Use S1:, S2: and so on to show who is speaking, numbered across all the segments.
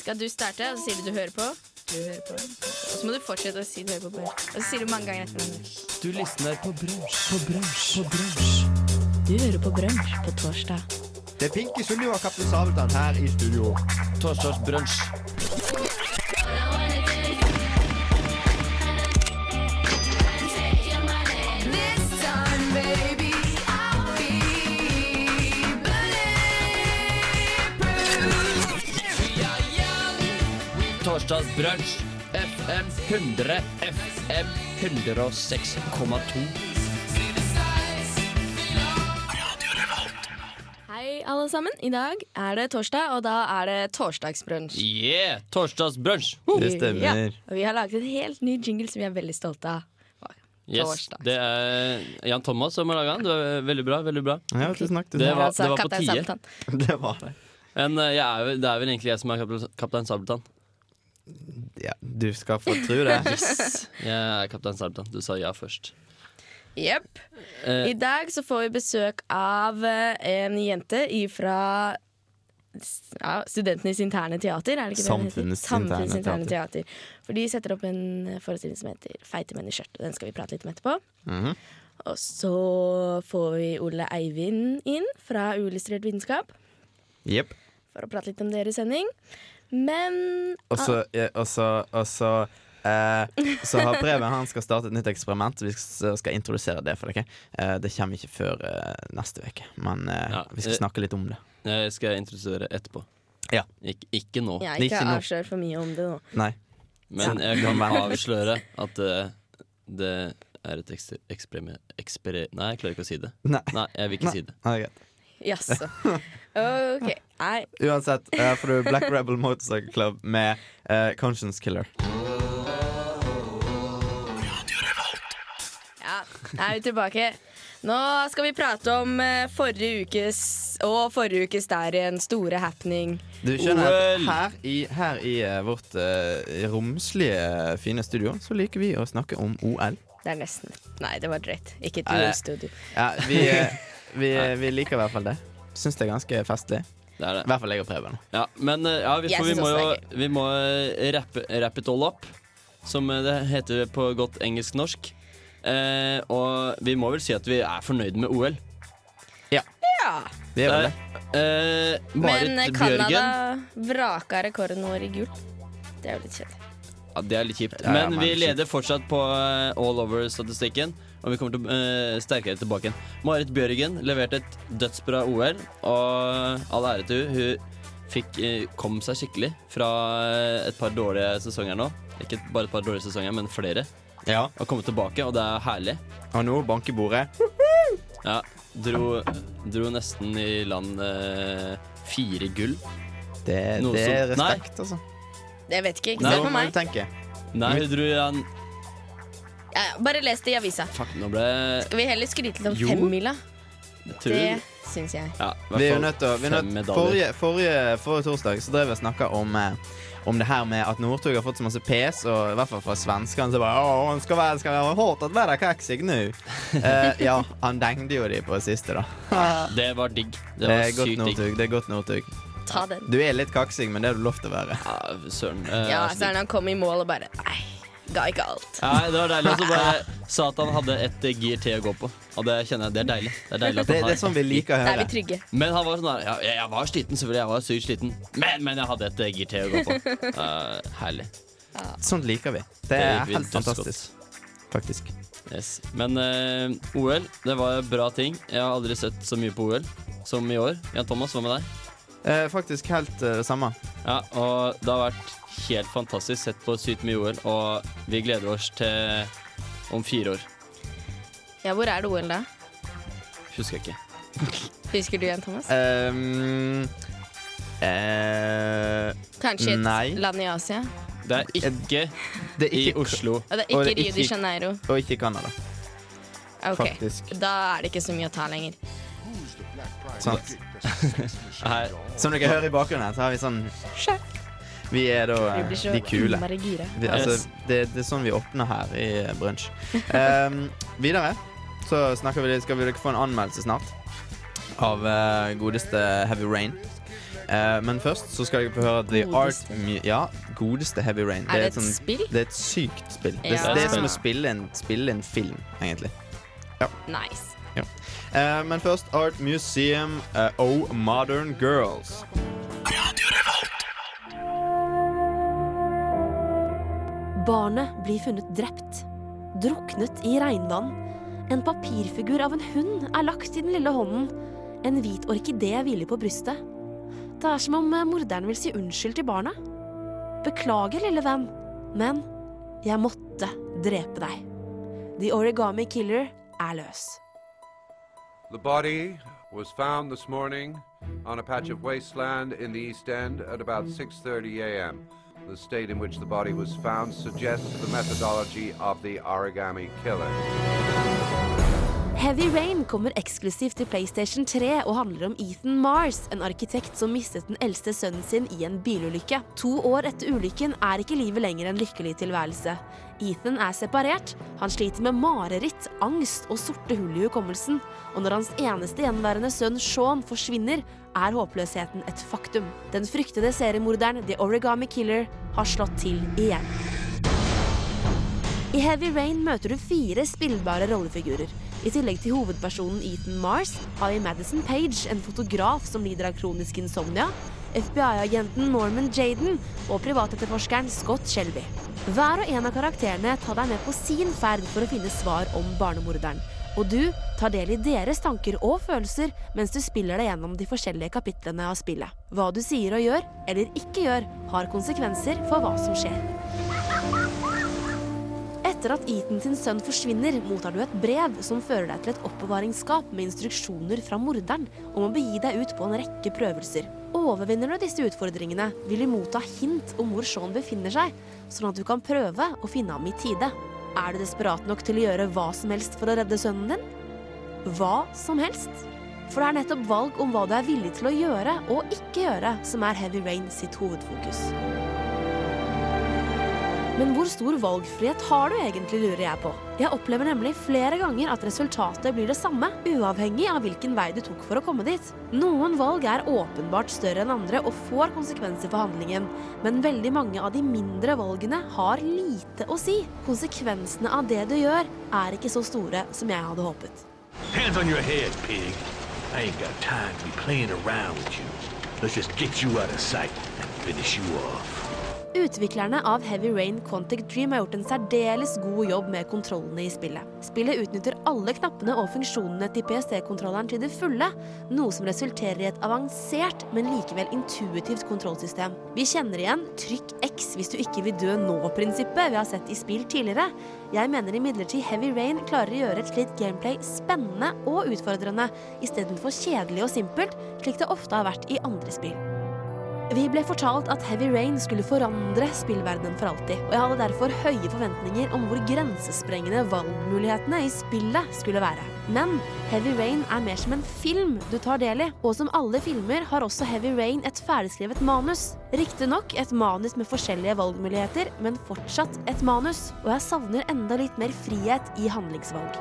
S1: skal du starte, og så sier du du hører på. Du hører på. Og så må du fortsette å si du hører på. Brunch. Og så sier du mange ganger etter hverandre.
S2: Du lysner på brunsj, på brunsj, på brunsj.
S3: Du hører på Brunsj på torsdag.
S4: Det er Pinky Sunniva og Kaptein Sabeltann her i studio.
S2: Torsdagsbrunsj. Torsdagsbrunsj. FM 100. FM 106,2.
S1: Hei, alle sammen. I dag er det torsdag, og da er det torsdagsbrunsj.
S2: Yeah! Torsdagsbrunsj.
S4: Det stemmer.
S1: Ja, og vi har laget en helt ny jingle som vi er veldig stolte av.
S2: Yes,
S1: Torsdags.
S2: det er Jan Thomas som har laga den. Du er veldig bra. veldig bra
S4: Ja, tusen takk.
S2: Det
S4: Tusen takk.
S2: var- det var på
S1: Kaptein
S2: tide.
S1: Sabeltann.
S4: Det var det.
S2: Men eh, jeg er jo, det er vel egentlig jeg som er kaptein, kaptein Sabeltann.
S4: Ja, du skal få tro det.
S2: Jeg er kaptein Sabeltann. Du sa ja først.
S1: Jepp.
S2: Eh.
S1: I dag så får vi besøk av eh, en jente fra ja, Studentenes interne teater, er det ikke det? den heter?
S4: Samfunnets interne
S1: teater. For de setter opp en forestilling som heter Feite menn i skjørt, og den skal vi prate litt om etterpå.
S4: Mhm.
S1: Og så får vi Ole Eivind inn fra Uillustrert vitenskap
S4: Jepp.
S1: for å prate litt om deres sending. Men
S4: Og så eh, og så- og så, eh, Så har Preben han skal starte et nytt eksperiment. Vi eh, skal skal introdusere det for dere. Eh, det kommer ikke før eh, neste uke, men eh,
S2: Ja,
S4: vi skal
S2: eh,
S4: snakke litt om det.
S2: Jeg skal introdusere etterpå.
S4: Ja.
S2: Ik ikke nå.
S1: jeg
S4: det er
S1: ikke
S4: ikke noe-
S1: avslør for mye om det nå.
S4: Nei.
S2: Men jeg kan avsløre at eh, det er et ekse- eksperime... Eksperi... Nei, jeg klarer ikke å si det.
S4: Nei.
S2: Nei, jeg vil ikke si det.
S4: Nei, greit.
S1: Jaså. OK. Nei,
S4: Uansett, eh, får du Black Rebel Motorcycle Club med eh, Conscience Killer.
S1: Ja, er vi tilbake. Nå skal vi prate om eh, forrige ukes og forrige ukes der igjen. Store happening.
S4: Du skjønner at
S2: OL.
S4: her i, her i eh, vårt eh, romslige, eh, fine studio så liker vi å snakke om OL.
S1: Det er nesten Nei, det var drøyt. Ikke et
S4: Er det-
S1: UL-studio.
S4: Ja, vi, eh, vi, vi liker i hvert fall det. Syns det er ganske festlig.
S2: det, er
S4: I
S2: det.
S4: hvert fall jeg og Preben.
S2: Ja, men eh, ja, vi,
S1: Jeg
S2: for vi
S1: synes
S2: må jo
S1: også det
S2: vi må eh, rappe, wrap it all up, som eh, det heter på godt engelsk-norsk. Eh, og vi må vel si at vi er fornøyd med OL.
S1: Ja.
S4: Vi er vel det.
S1: Men eh,
S2: Eh, Marit Bjørgen.
S1: Canada vraka rekorden vår i gult. Det er jo litt kjedelig.
S2: Ja, det er litt kjipt.
S4: Ja, ja,
S2: Men vi
S4: men det er kjipt.
S2: leder fortsatt på eh, all over-statistikken. Og vi kommer til, eh, sterkere tilbake igjen. Marit Bjørgen leverte et dødsbra OL, og all ære til hun Hun fikk, eh, kom seg skikkelig fra eh, et par dårlige sesonger nå. Ikke bare et par dårlige sesonger, men flere.
S4: Ja.
S2: Og kommet tilbake, og det er herlig.
S4: Og nå banker bordet.
S2: Ja, dro, dro nesten i land eh, fire gull.
S4: Det,
S2: Noe
S4: det er
S2: som- Nei.
S4: respekt, altså.
S1: Det vet ikke. Ikke
S2: Nei,
S1: se
S4: Nå
S1: på
S4: må du
S1: meg.
S4: tenke.
S2: Nei,
S4: Mm.
S2: hun dro i land
S1: Ja, ja, bare les det i avisa.
S2: Fuck, nå ble jeg
S1: Skal vi heller skryte litt om
S2: Jo.
S1: femmila?
S2: tror-
S1: Det syns jeg.
S2: Ja, i hvert
S4: Vi er jo
S2: fall
S4: nødt til å vi er
S2: fem
S4: nødt,
S2: medaljer.
S4: forrige, forrige, forrige torsdag så drev jeg og snakka om, eh, om det her med at Northug har fått så masse pes, og i hvert fall fra svenskene så bare Å, han skal være, skal være hårdt at være kaksig nå. Eh, ja, han dengde jo de på siste, da.
S2: Det var digg. Det
S4: Det
S2: var
S4: er godt
S2: sykt digg.
S4: Northug. Det er godt Northug.
S1: Ta den.
S4: Du er litt kaksig, men det er du lov til å være.
S2: Ja, søren. Eh, altså-
S1: Ja, så er det han kom i mål og bare Nei, ga ikke alt.
S2: Nei, det var deilig at du bare sa at han hadde et gir til å gå på. Og det kjenner jeg, det er deilig. Det er deilig at
S4: Det,
S2: han
S4: det er sånn vi liker å
S1: Da er vi
S4: høre.
S1: trygge.
S2: Men han var sånn der ja, Jeg jeg var sliten, selvfølgelig. Jeg var sykt sliten. Men, men jeg hadde et eh, gir til å gå på. Eh, herlig.
S4: Sånt liker vi. Det
S2: Det
S4: er
S2: gikk vi
S4: helt
S2: dødsgodt.
S4: fantastisk, faktisk.
S2: Yes. Men eh, OL, det var bra ting. Jeg har aldri sett så mye på OL som i år. Jan Thomas, hva med deg?
S4: Eh, faktisk helt eh, det samme.
S2: Ja, og det har vært helt fantastisk sett på sykt mye OL, og vi gleder oss til om fire år.
S1: Ja, hvor er det OL da?
S2: Husker jeg ikke.
S1: Husker du igjen, Thomas?
S4: Um, eh,
S1: Kanskje i et
S4: Nei.
S1: land i Asia?
S2: Det er ikke
S4: det er
S2: i
S4: ikke
S2: Oslo.
S1: Og det er ikke
S4: Og det er
S1: Rio de
S4: ikke-
S1: Janeiro.
S4: Og ikke i Canada.
S1: Ok,
S4: Faktisk.
S1: Da er det ikke så mye å ta lenger.
S4: Sant.
S2: Her,
S4: Som dere hører i bakgrunnen, her, så har vi sånn Vi er da
S1: Vi
S4: eh,
S1: blir så
S4: de kule.
S1: innmari gira.
S4: Vi, altså,
S2: Yes.
S4: det, det er sånn vi åpner her i brunsj. Ehm, videre så snakker vi, litt- skal vi dere få en anmeldelse snart av eh, godeste Heavy Rain. Eh, men først så skal jeg få høre The
S1: Godeste.
S4: Art Mu... Ja, godeste Heavy Rain.
S1: Er det
S4: et
S1: et
S4: sånn-
S1: spill?
S4: Det er et sykt spill. Det,
S1: Ja.
S4: det er som å spille en, spille en film, egentlig.
S1: Nice.
S4: Eh, men først Art Museum eh, Oh Modern Girls.
S5: Barnet blir funnet drept. Druknet i regnvann. En papirfigur av en hund er lagt i den lille hånden. En hvit orkidé hviler på brystet. Det er som om eh, morderen vil si unnskyld til barna. Beklager, lille venn, men jeg måtte drepe deg. The Origami Killer er løs.
S6: The body was found this morning on a patch of wasteland in the East End at about 6:30 a.m. The state in which the body was found suggests the methodology of the origami killer.
S5: Heavy Rain kommer eksklusivt til PlayStation 3 og handler om Ethan Mars, en arkitekt som mistet den eldste sønnen sin i en bilulykke. To år etter ulykken er ikke livet lenger en lykkelig tilværelse. Ethan er separert, han sliter med mareritt, angst og sorte hull i hukommelsen. Og når hans eneste gjenværende sønn Sean forsvinner, er håpløsheten et faktum. Den fryktede seriemorderen The Origami Killer har slått til igjen. I Heavy Rain møter du fire spillbare rollefigurer. I tillegg til hovedpersonen Ethan Mars har vi Madison Page, en fotograf som lider av kronisk insomnia, FBI-agenten Norman Jaden og privatetterforskeren Scott Shelby. Hver og en av karakterene tar deg med på sin ferd for å finne svar om barnemorderen. Og du tar del i deres tanker og følelser mens du spiller deg gjennom de forskjellige kapitlene av spillet. Hva du sier og gjør, eller ikke gjør, har konsekvenser for hva som skjer. Etter at Ethan sin sønn forsvinner, mottar du et brev som fører deg til et oppbevaringsskap med instruksjoner fra morderen om å begi deg ut på en rekke prøvelser. Overvinner du disse utfordringene, vil du motta hint om hvor Sean befinner seg, sånn at du kan prøve å finne ham i tide. Er du desperat nok til å gjøre hva som helst for å redde sønnen din? Hva som helst? For det er nettopp valg om hva du er villig til å gjøre og ikke gjøre, som er Heavy Rain sitt hovedfokus. Men hvor stor valgfrihet har du egentlig, lurer jeg på. Jeg opplever nemlig flere ganger at resultatet blir det samme, uavhengig av hvilken vei du tok for å komme dit. Noen valg er åpenbart større enn andre og får konsekvenser for handlingen, men veldig mange av de mindre valgene har lite å si. Konsekvensene av det du gjør, er ikke så store som jeg hadde håpet.
S7: Hands on your head, pig. I ain't got time to be playing around with you. Let's just get you out of sight and finish you off.
S5: Utviklerne av Heavy Rain Quantic Dream har gjort en særdeles god jobb med kontrollene i spillet. Spillet utnytter alle knappene og funksjonene til PST-kontrolleren til det fulle, noe som resulterer i et avansert, men likevel intuitivt kontrollsystem. Vi kjenner igjen 'trykk X hvis du ikke vil dø nå'-prinsippet vi har sett i spill tidligere. Jeg mener imidlertid Heavy Rain klarer å gjøre et slikt gameplay spennende og utfordrende, istedenfor kjedelig og simpelt, slik det ofte har vært i andre spill. Vi ble fortalt at Heavy Rain skulle forandre spillverdenen for alltid, og jeg hadde derfor høye forventninger om hvor grensesprengende valgmulighetene i spillet skulle være. Men Heavy Rain er mer som en film du tar del i, og som alle filmer har også Heavy Rain et ferdigskrevet manus. Riktignok et manus med forskjellige valgmuligheter, men fortsatt et manus, og jeg savner enda litt mer frihet i handlingsvalg.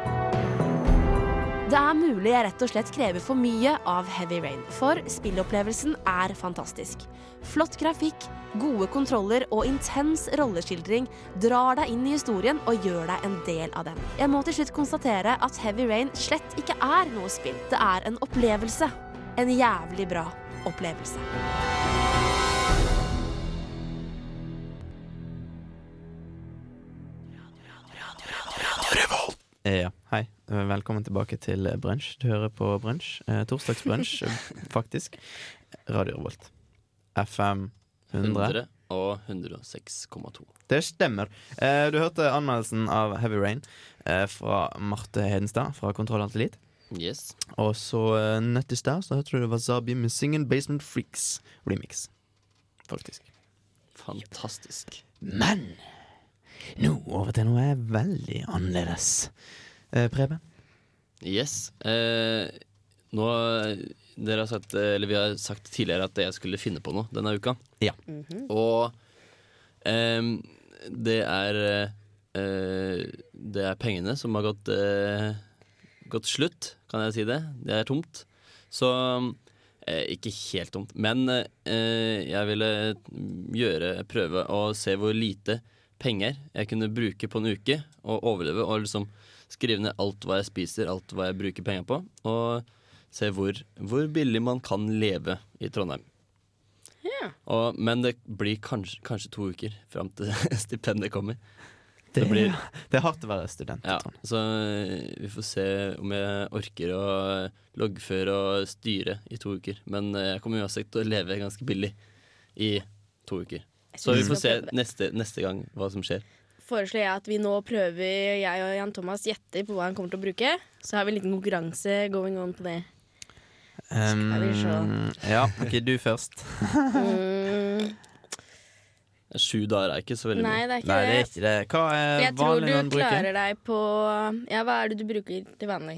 S5: Det er mulig jeg rett og slett krever for mye av Heavy Rain, for spillopplevelsen er fantastisk. Flott grafikk, gode kontroller og intens rolleskildring drar deg inn i historien og gjør deg en del av den. Jeg må til slutt konstatere at Heavy Rain slett ikke er noe spill. Det er en opplevelse. En jævlig bra opplevelse.
S4: Eh, Ja, hei. Eh, Velkommen tilbake til eh, Brunsj. Du hører på Brunsj. Eh, torsdagsbrunsj, eh, faktisk. Radio Revolt. FM 100.
S2: 100 og 106,2.
S4: Det stemmer. Eh, du hørte anmeldelsen av Heavy Rain eh, fra Marte Hedenstad fra Kontroll Antelit.
S2: Yes.
S4: Og så eh, nødt i stad så hørte du det var Zabi med Singin' Basement Freaks remix. Faktisk.
S2: Fantastisk.
S4: Men nå over til noe veldig annerledes. Eh, Preben?
S2: Yes. Eh, nå Dere har sagt, eller vi har sagt tidligere at jeg skulle finne på noe denne uka.
S4: Ja.
S2: Og ehm, det er eh, Det er pengene som har gått eh, Gått slutt, kan jeg si det. Det er tomt. Så Eh, ikke helt tomt, men eh, jeg ville gjøre prøve å se hvor lite penger jeg kunne bruke på en uke og overleve, og liksom skrive ned alt hva jeg spiser, alt hva jeg bruker penger på, og se hvor, hvor billig man kan leve i Trondheim.
S1: Ja.
S2: Og, men det blir kanskje, kanskje to uker fram til stipendet kommer.
S4: Det,
S2: Det blir-
S4: det er hardt å være student.
S2: Ja,
S4: Trond.
S2: så eh, vi får se om jeg orker å loggføre og styre i to uker. Men eh, jeg kommer uansett til å leve ganske billig i to uker. Så
S4: Mm.
S2: vi får se neste, neste gang hva som skjer.
S1: Foreslår jeg at vi nå prøver, jeg og Jan Thomas gjetter på hva han kommer til å bruke. Så har vi en liten konkurranse going on på det. Skal vi se.
S4: Um, ja, ok, du først.
S2: Eh,
S1: Mm,
S2: Sju dager er ikke så veldig
S1: nei,
S2: mye.
S1: det er ikke
S4: Nei, det
S1: det.
S4: er ikke det. Hva er
S1: Jeg tror
S4: vanlig man
S1: du
S4: bruker?
S1: klarer deg på Ja, hva er det du bruker til vanlig?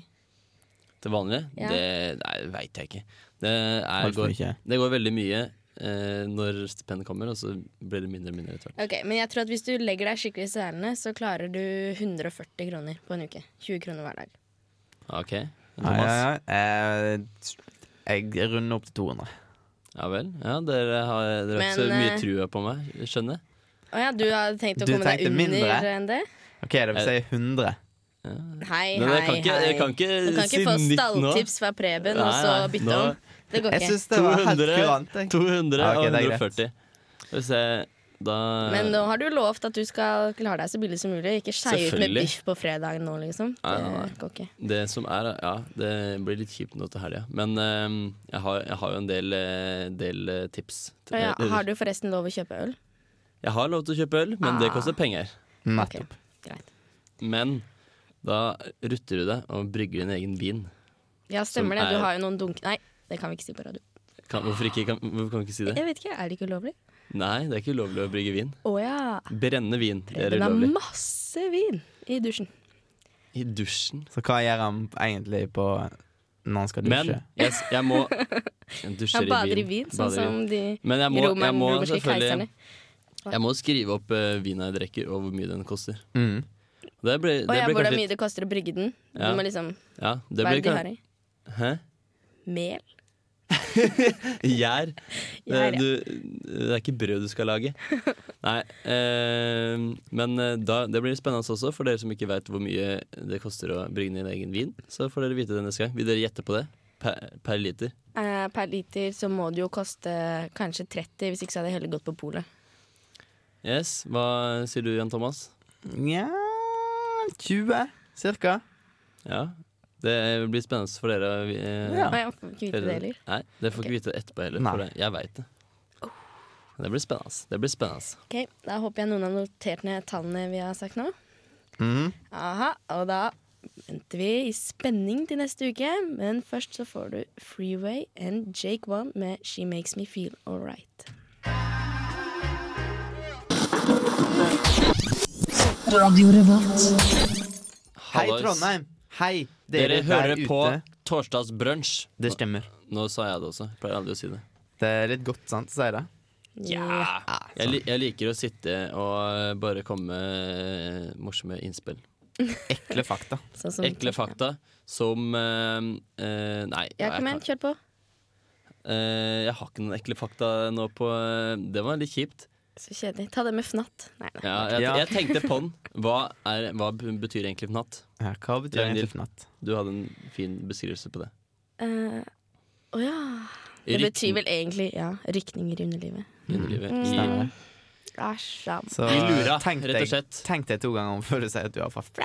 S2: Til vanlig?
S1: Ja.
S2: Det nei, veit jeg ikke. Det, er,
S4: Alt for
S2: går,
S4: mye.
S2: det går veldig mye eh, når stipendet kommer, og så blir det mindre og mindre etter hvert.
S1: Ok, Men jeg tror at hvis du legger deg skikkelig i selene, så klarer du 140 kroner på en uke. 20 kroner hver dag.
S2: OK.
S4: Nei,
S2: Thomas? Ja,
S4: nei, nei. Eh, Jeg runder opp til 200.
S2: vel. Ja, dere har, dere har ikke så
S1: Men,
S2: mye
S1: eh,
S2: trua på meg, skjønner jeg.
S1: Å ja, du hadde tenkt å
S4: Du
S1: komme deg
S4: tenkte
S1: under
S4: mindre?
S1: enn det?
S4: Ok, det vil si 100.
S1: Hei,
S2: Men
S1: hei,
S2: jeg kan ikke,
S1: hei.
S2: jeg kan ikke,
S1: du kan ikke
S2: si
S1: få
S2: 19 nå.
S1: stalltips fra Preben og
S2: Nei,
S1: så
S2: nei,
S1: bytte
S2: nå-
S1: om. Det går
S4: Jeg
S1: ikke.
S4: syns det var helt
S2: 200.
S4: kurant. jeg.
S2: 200
S4: Ja, ok,
S2: og
S4: det er greit.
S2: 140. Skal vi se da
S1: Men nå har du lovt at du skal klare deg så billig som mulig. Ikke skei ut med
S2: Selvfølgelig.
S1: biff på fredagen nå, liksom.
S2: Nei, nei, nei.
S1: Det går ikke.
S2: Det som er, ja, det blir litt kjipt nå til helga. Men eh, jeg, har, jeg har jo en del, eh, del eh, tips.
S1: Og ja, har du forresten lov å kjøpe øl?
S2: Jeg har lov til å kjøpe øl, men det
S1: Ah.
S2: koster penger.
S1: Ok,
S4: Nettopp.
S1: greit.
S2: Men da rutter du deg og brygger din egen vin.
S1: Ja, stemmer det.
S2: Som er-
S1: Du har jo noen dunk... Nei, det kan vi ikke si på radio.
S2: Kan, hvorfor, ikke, kan, hvorfor kan vi ikke si det?
S1: Jeg vet ikke, Er det ikke ulovlig?
S2: Nei, det er ikke ulovlig å brygge vin.
S1: Å ja.
S2: Brenne vin det er
S1: Preben har
S2: ulovlig.
S1: masse vin i dusjen.
S2: I dusjen.
S4: Så hva gjør han egentlig på når han skal
S2: Men
S4: dusje?
S2: jeg, s- jeg må Jeg dusjer
S1: Han bader i vin, sånn
S2: Bader i
S1: som de
S2: Men jeg må, jeg
S1: romer-
S2: må
S1: romerske
S2: selvfølgelig
S1: keiserne.
S2: Jeg må skrive opp uh, vina jeg drikker, og hvor mye den koster.
S4: Mm.
S2: Det blir,
S1: Å
S2: det
S1: ja,
S2: blir
S1: hvordan
S2: kanskje
S1: mye det koster å brygge den.
S2: Ja.
S1: Du må liksom
S2: ja,
S1: Hva er
S2: det
S1: det de
S2: blir kan-
S1: har i?
S2: Hæ?
S1: Mel?
S2: Gjær? Det,
S1: Gjær, ja.
S2: du, det er ikke brød du skal lage. Nei. eh, men eh, da, det blir spennende også, for dere som ikke vet hvor mye det koster å brygge ned egen vin. Så får dere vite det neste gang. Vil dere gjette på det? Per, per liter?
S1: Eh, per liter så må det jo koste kanskje 30, hvis ikke så hadde jeg heller gått på polet.
S2: Yes. Hva sier du, Jan Thomas?
S4: Nja 20, cirka.
S2: Ja. Det blir spennende for dere. å vi- eh,
S4: Ja.
S1: Å ja, får ikke vite det heller.
S2: Nei, det får ikke vite etterpå heller.
S4: Nei.
S2: For det. Jeg veit det. Det blir spennende. ass. Det blir spennende. ass.
S1: Ok, Da håper jeg noen har notert ned tallene vi har sagt nå.
S4: Mhm.
S1: Aha, Og da venter vi i spenning til neste uke. Men først så får du Freeway and Jake One med She Makes Me Feel Alright.
S4: Hei,
S2: Hallois.
S4: Trondheim. Hei,
S2: Dere
S4: dere,
S2: hører
S4: der
S2: på
S4: ute.
S2: Torsdagsbrunsj.
S4: Det stemmer.
S2: Nå sa jeg det også. Jeg pleier aldri å si det.
S4: Det er litt godt, sant, å si det?
S1: Ja.
S2: Jeg, li jeg liker å sitte og eh, bare komme med morsomme innspill.
S4: Ekle fakta.
S1: Sånn som-
S2: Ekle fakta som eh, eh, Nei.
S1: Ja, kom igjen,
S2: jeg,
S1: kjør på.
S2: kan- eh, jeg har ikke noen ekle fakta nå på eh, Det var litt kjipt.
S1: Så kjedelig. Ta det med fnatt. Nei, nei.
S2: Ja, jeg,
S4: Ja.
S2: jeg tenkte på den. Hva, er, hva betyr egentlig fnatt?
S4: Ja, hva betyr
S2: Ragnhild.
S4: egentlig fnatt?
S2: Du hadde en fin beskrivelse på det.
S1: Eh, Å ja. Det
S2: Rytm-
S1: betyr vel Mm. egentlig ja, rykninger i underlivet.
S2: underlivet.
S4: Stemmer det.
S1: Æsj, ja.
S4: Så
S2: I lura,
S4: tenk
S2: rett og
S4: deg-
S2: slett.
S4: Tenk deg to ganger om før du sier at du har fått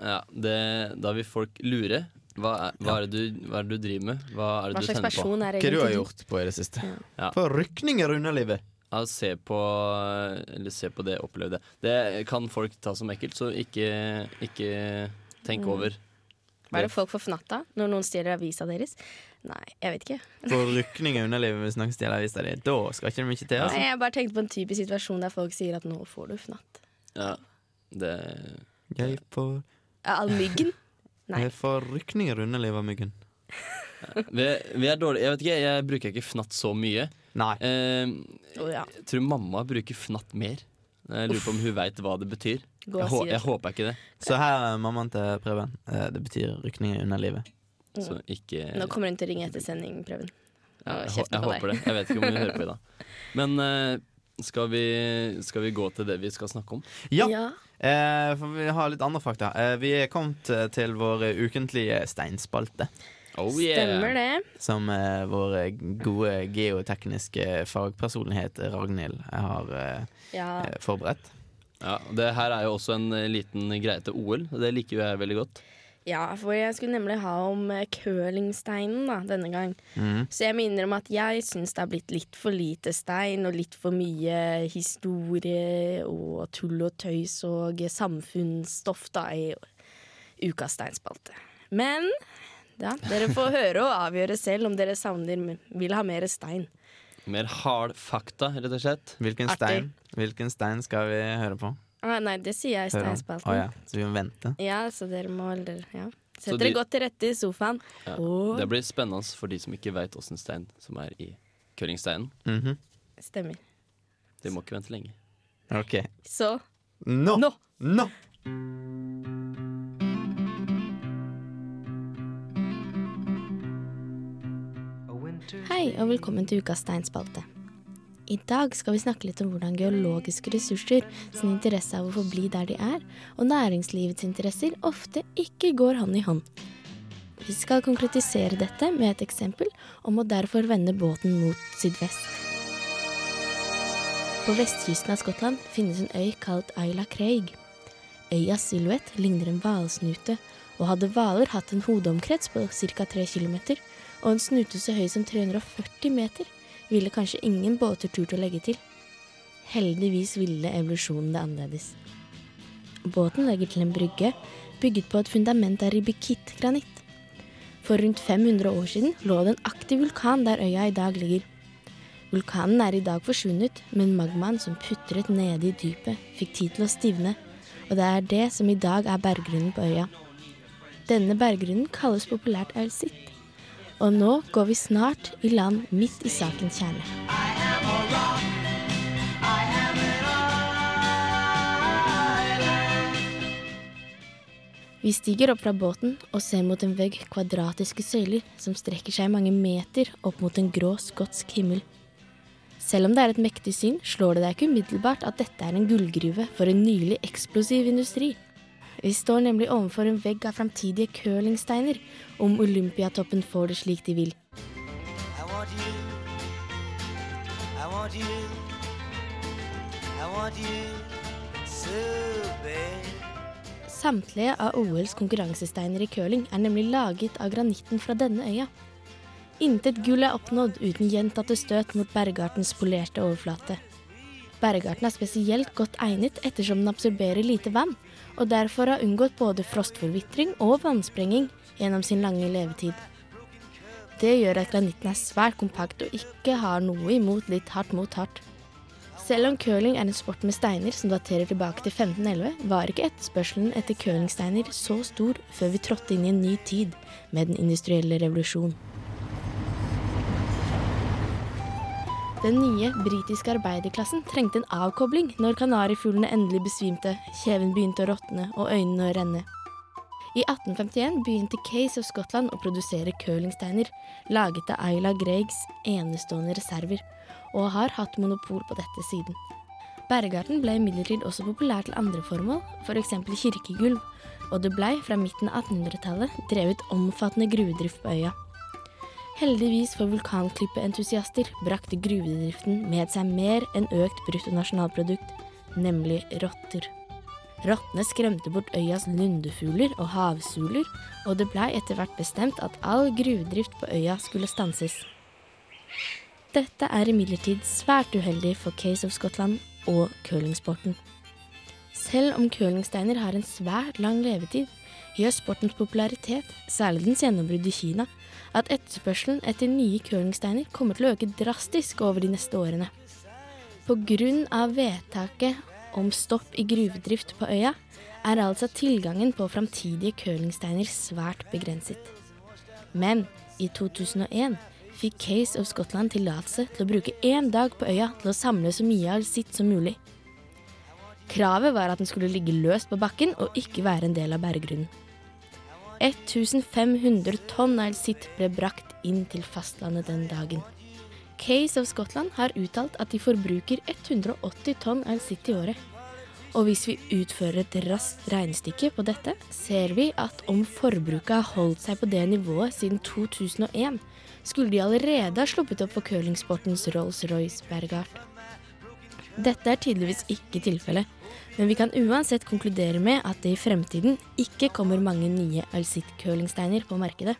S2: Ja, det, da vil folk lure. Hva er, hva, er det du, hva er det du driver med? Hva er det
S1: Hva
S2: du
S1: slags
S2: tenner på?
S1: person er
S4: Hva du
S1: egentlig
S4: har gjort på i det siste?
S2: Ja.
S4: For rykninger under livet.
S2: Ja, se på, eller se på det, opplev det. Det kan folk ta som ekkelt, så ikke, ikke tenk over.
S1: Mm. Hva er det folk får fnatt av når noen stjeler avisa deres? Nei, jeg vet ikke.
S4: For rykninger under livet hvis noen stjeler avisa di. Da skal ikke de mye til.
S1: Nei,
S4: Altså.
S1: jeg bare tenkte på en typisk situasjon der folk sier at 'nå får du fnatt'.
S2: Ja, det,
S4: Jeg får,
S1: Ja, All myggen. Nei.
S4: jeg får rykninger under livet av myggen.
S2: vi, vi er dårlige. Jeg vet ikke, jeg bruker ikke fnatt så mye.
S4: Nei.
S2: Eh,
S1: Å ja.
S2: jeg tror mamma bruker fnatt mer. Jeg lurer på om hun veit hva det betyr.
S1: Gå
S2: Jeg,
S1: og
S2: hå
S1: si det.
S2: jeg håper ikke det.
S4: Eh, Så her er mammaen til Preben. Eh, Det betyr rykninger under livet.
S2: Så ikke
S8: Nå kommer hun til å ringe etter sending, Preben.
S2: Ja,
S8: og
S2: jeg, hå-
S8: kjefte
S2: jeg
S8: på
S2: håper det. Jeg vet ikke om hun hører på i dag. Men eh, skal, vi, skal vi gå til det vi skal snakke om?
S4: Ja,
S8: Ja.
S4: eh, for vi har litt andre fakta. Eh, vi er kommet eh, til vår eh, ukentlige steinspalte.
S2: Oh,
S8: Stemmer det.
S4: Som eh, vår eh, gode geotekniske fagpersonlighet eh, Ragnhild har eh,
S8: Ja.
S4: eh, forberedt.
S2: Ja, og det her er jo også en eh, liten greie til OL, og det liker jo jeg veldig godt.
S8: ja, for jeg skulle nemlig ha om eh, curlingsteinen da, denne gang.
S2: Mm.
S8: Så jeg må innrømme at jeg syns det har blitt litt for lite stein, og litt for mye historie og tull og tøys og samfunnsstoff da i ukas steinspalte. Men ja, dere får høre og avgjøre selv om dere savner vil ha mer stein.
S2: Mer hard fakta, rett og slett.
S4: Hvilken
S8: Artig.
S4: stein, hvilken stein skal vi høre på?
S8: Ah, nei, det sier jeg i
S4: Høre om.
S8: steinspalten.
S4: Å ja. Så vi må vente.
S8: Ja, så dere må eller, ja.
S2: Ah, Så
S8: Sett dere
S2: de-
S8: godt til rette i sofaen.
S2: Ja.
S8: Og
S2: Det blir spennende for de som ikke veit åssen stein som er i curlingsteinen.
S4: Mhm.
S8: stemmer.
S2: De må ikke vente lenge.
S4: OK.
S8: Så
S4: Nå!
S8: nå!
S4: Nå!
S1: Hei, og velkommen til ukas steinspalte. I dag skal vi snakke litt om hvordan geologiske ressurser sin interesse av å forbli der de er, og næringslivets interesser ofte ikke går hånd i hånd. Vi skal konkretisere dette med et eksempel og må derfor vende båten mot sydvest. På vestkysten av Skottland finnes en øy kalt Isla Craig. Øyas silhuett ligner en hvalsnute, og hadde hvaler hatt en hodeomkrets på ca. 3 km og en snute så høy som 340 meter, ville kanskje ingen båter turt å legge til. Heldigvis ville evolusjonen det annerledes. Båten legger til en brygge bygget på et fundament av ribikittgranitt. For rundt 500 år siden lå det en aktiv vulkan der øya i dag ligger. Vulkanen er i dag forsvunnet, men magmaen som putret nede i dypet, fikk tid til å stivne, og det er det som i dag er berggrunnen på øya. Denne berggrunnen kalles populært Elsitt, og nå går vi snart i land midt i sakens kjerne. Vi stiger opp fra båten og ser mot en vegg kvadratiske søyler som strekker seg mange meter opp mot en grå skotsk himmel. Selv om det er et mektig syn, slår det deg ikke umiddelbart at dette er en gullgruve for en nylig eksplosiv industri. Vi står nemlig overfor en vegg av framtidige curlingsteiner, om Olympiatoppen får det slik de vil. Samtlige av OLs konkurransesteiner i curling er nemlig laget av granitten fra denne øya. Intet gull er oppnådd uten gjentatte støt mot bergartens polerte overflate. Bergarten er spesielt godt egnet ettersom den absorberer lite vann, og derfor har unngått både frostforvitring og vannsprenging gjennom sin lange levetid. Det gjør at granitten er svært kompakt og ikke har noe imot litt hardt mot hardt. Selv om curling er en sport med steiner som daterer tilbake til 1511, var ikke etterspørselen etter curlingsteiner så stor før vi trådte inn i en ny tid med den industrielle revolusjon. Den nye britiske arbeiderklassen trengte en avkobling når kanarifuglene endelig besvimte, kjeven begynte å råtne og øynene å renne. I 1851 begynte Case of Scotland å produsere curlingsteiner, laget av Ayla Greigs enestående reserver, og har hatt monopol på dette siden. Bergarten ble imidlertid også populær til andre formål, f.eks. For kirkegulv, og det blei fra midten av 1800-tallet drevet omfattende gruvedrift på øya. Heldigvis for vulkanklippeentusiaster brakte gruvedriften med seg mer enn økt bruttonasjonalprodukt, nemlig rotter. Rottene skremte bort øyas lundefugler og havsuler, og det blei etter hvert bestemt at all gruvedrift på øya skulle stanses. Dette er imidlertid svært uheldig for Case of Scotland og curlingsporten. Selv om curlingsteiner har en svært lang levetid, gjør sportens popularitet, særlig dens gjennombrudd i Kina, at etterspørselen etter nye curlingsteiner kommer til å øke drastisk over de neste årene. Pga. vedtaket om stopp i gruvedrift på øya er altså tilgangen på framtidige curlingsteiner svært begrenset. Men i 2001 fikk Case of Scotland tillatelse til å bruke én dag på øya til å samle så mye av sitt som mulig. Kravet var at den skulle ligge løst på bakken og ikke være en del av berggrunnen. 1500 tonn elsitt ble brakt inn til fastlandet den dagen. Case of Scotland har uttalt at de forbruker 180 tonn elsitt i året. Og hvis vi utfører et raskt regnestykke på dette, ser vi at om forbruket har holdt seg på det nivået siden 2001, skulle de allerede ha sluppet opp for curlingsportens Rolls-Royce Bergart. Dette er tydeligvis ikke tilfellet, men vi kan uansett konkludere med at det i fremtiden ikke kommer mange nye Alcit-curlingsteiner på markedet.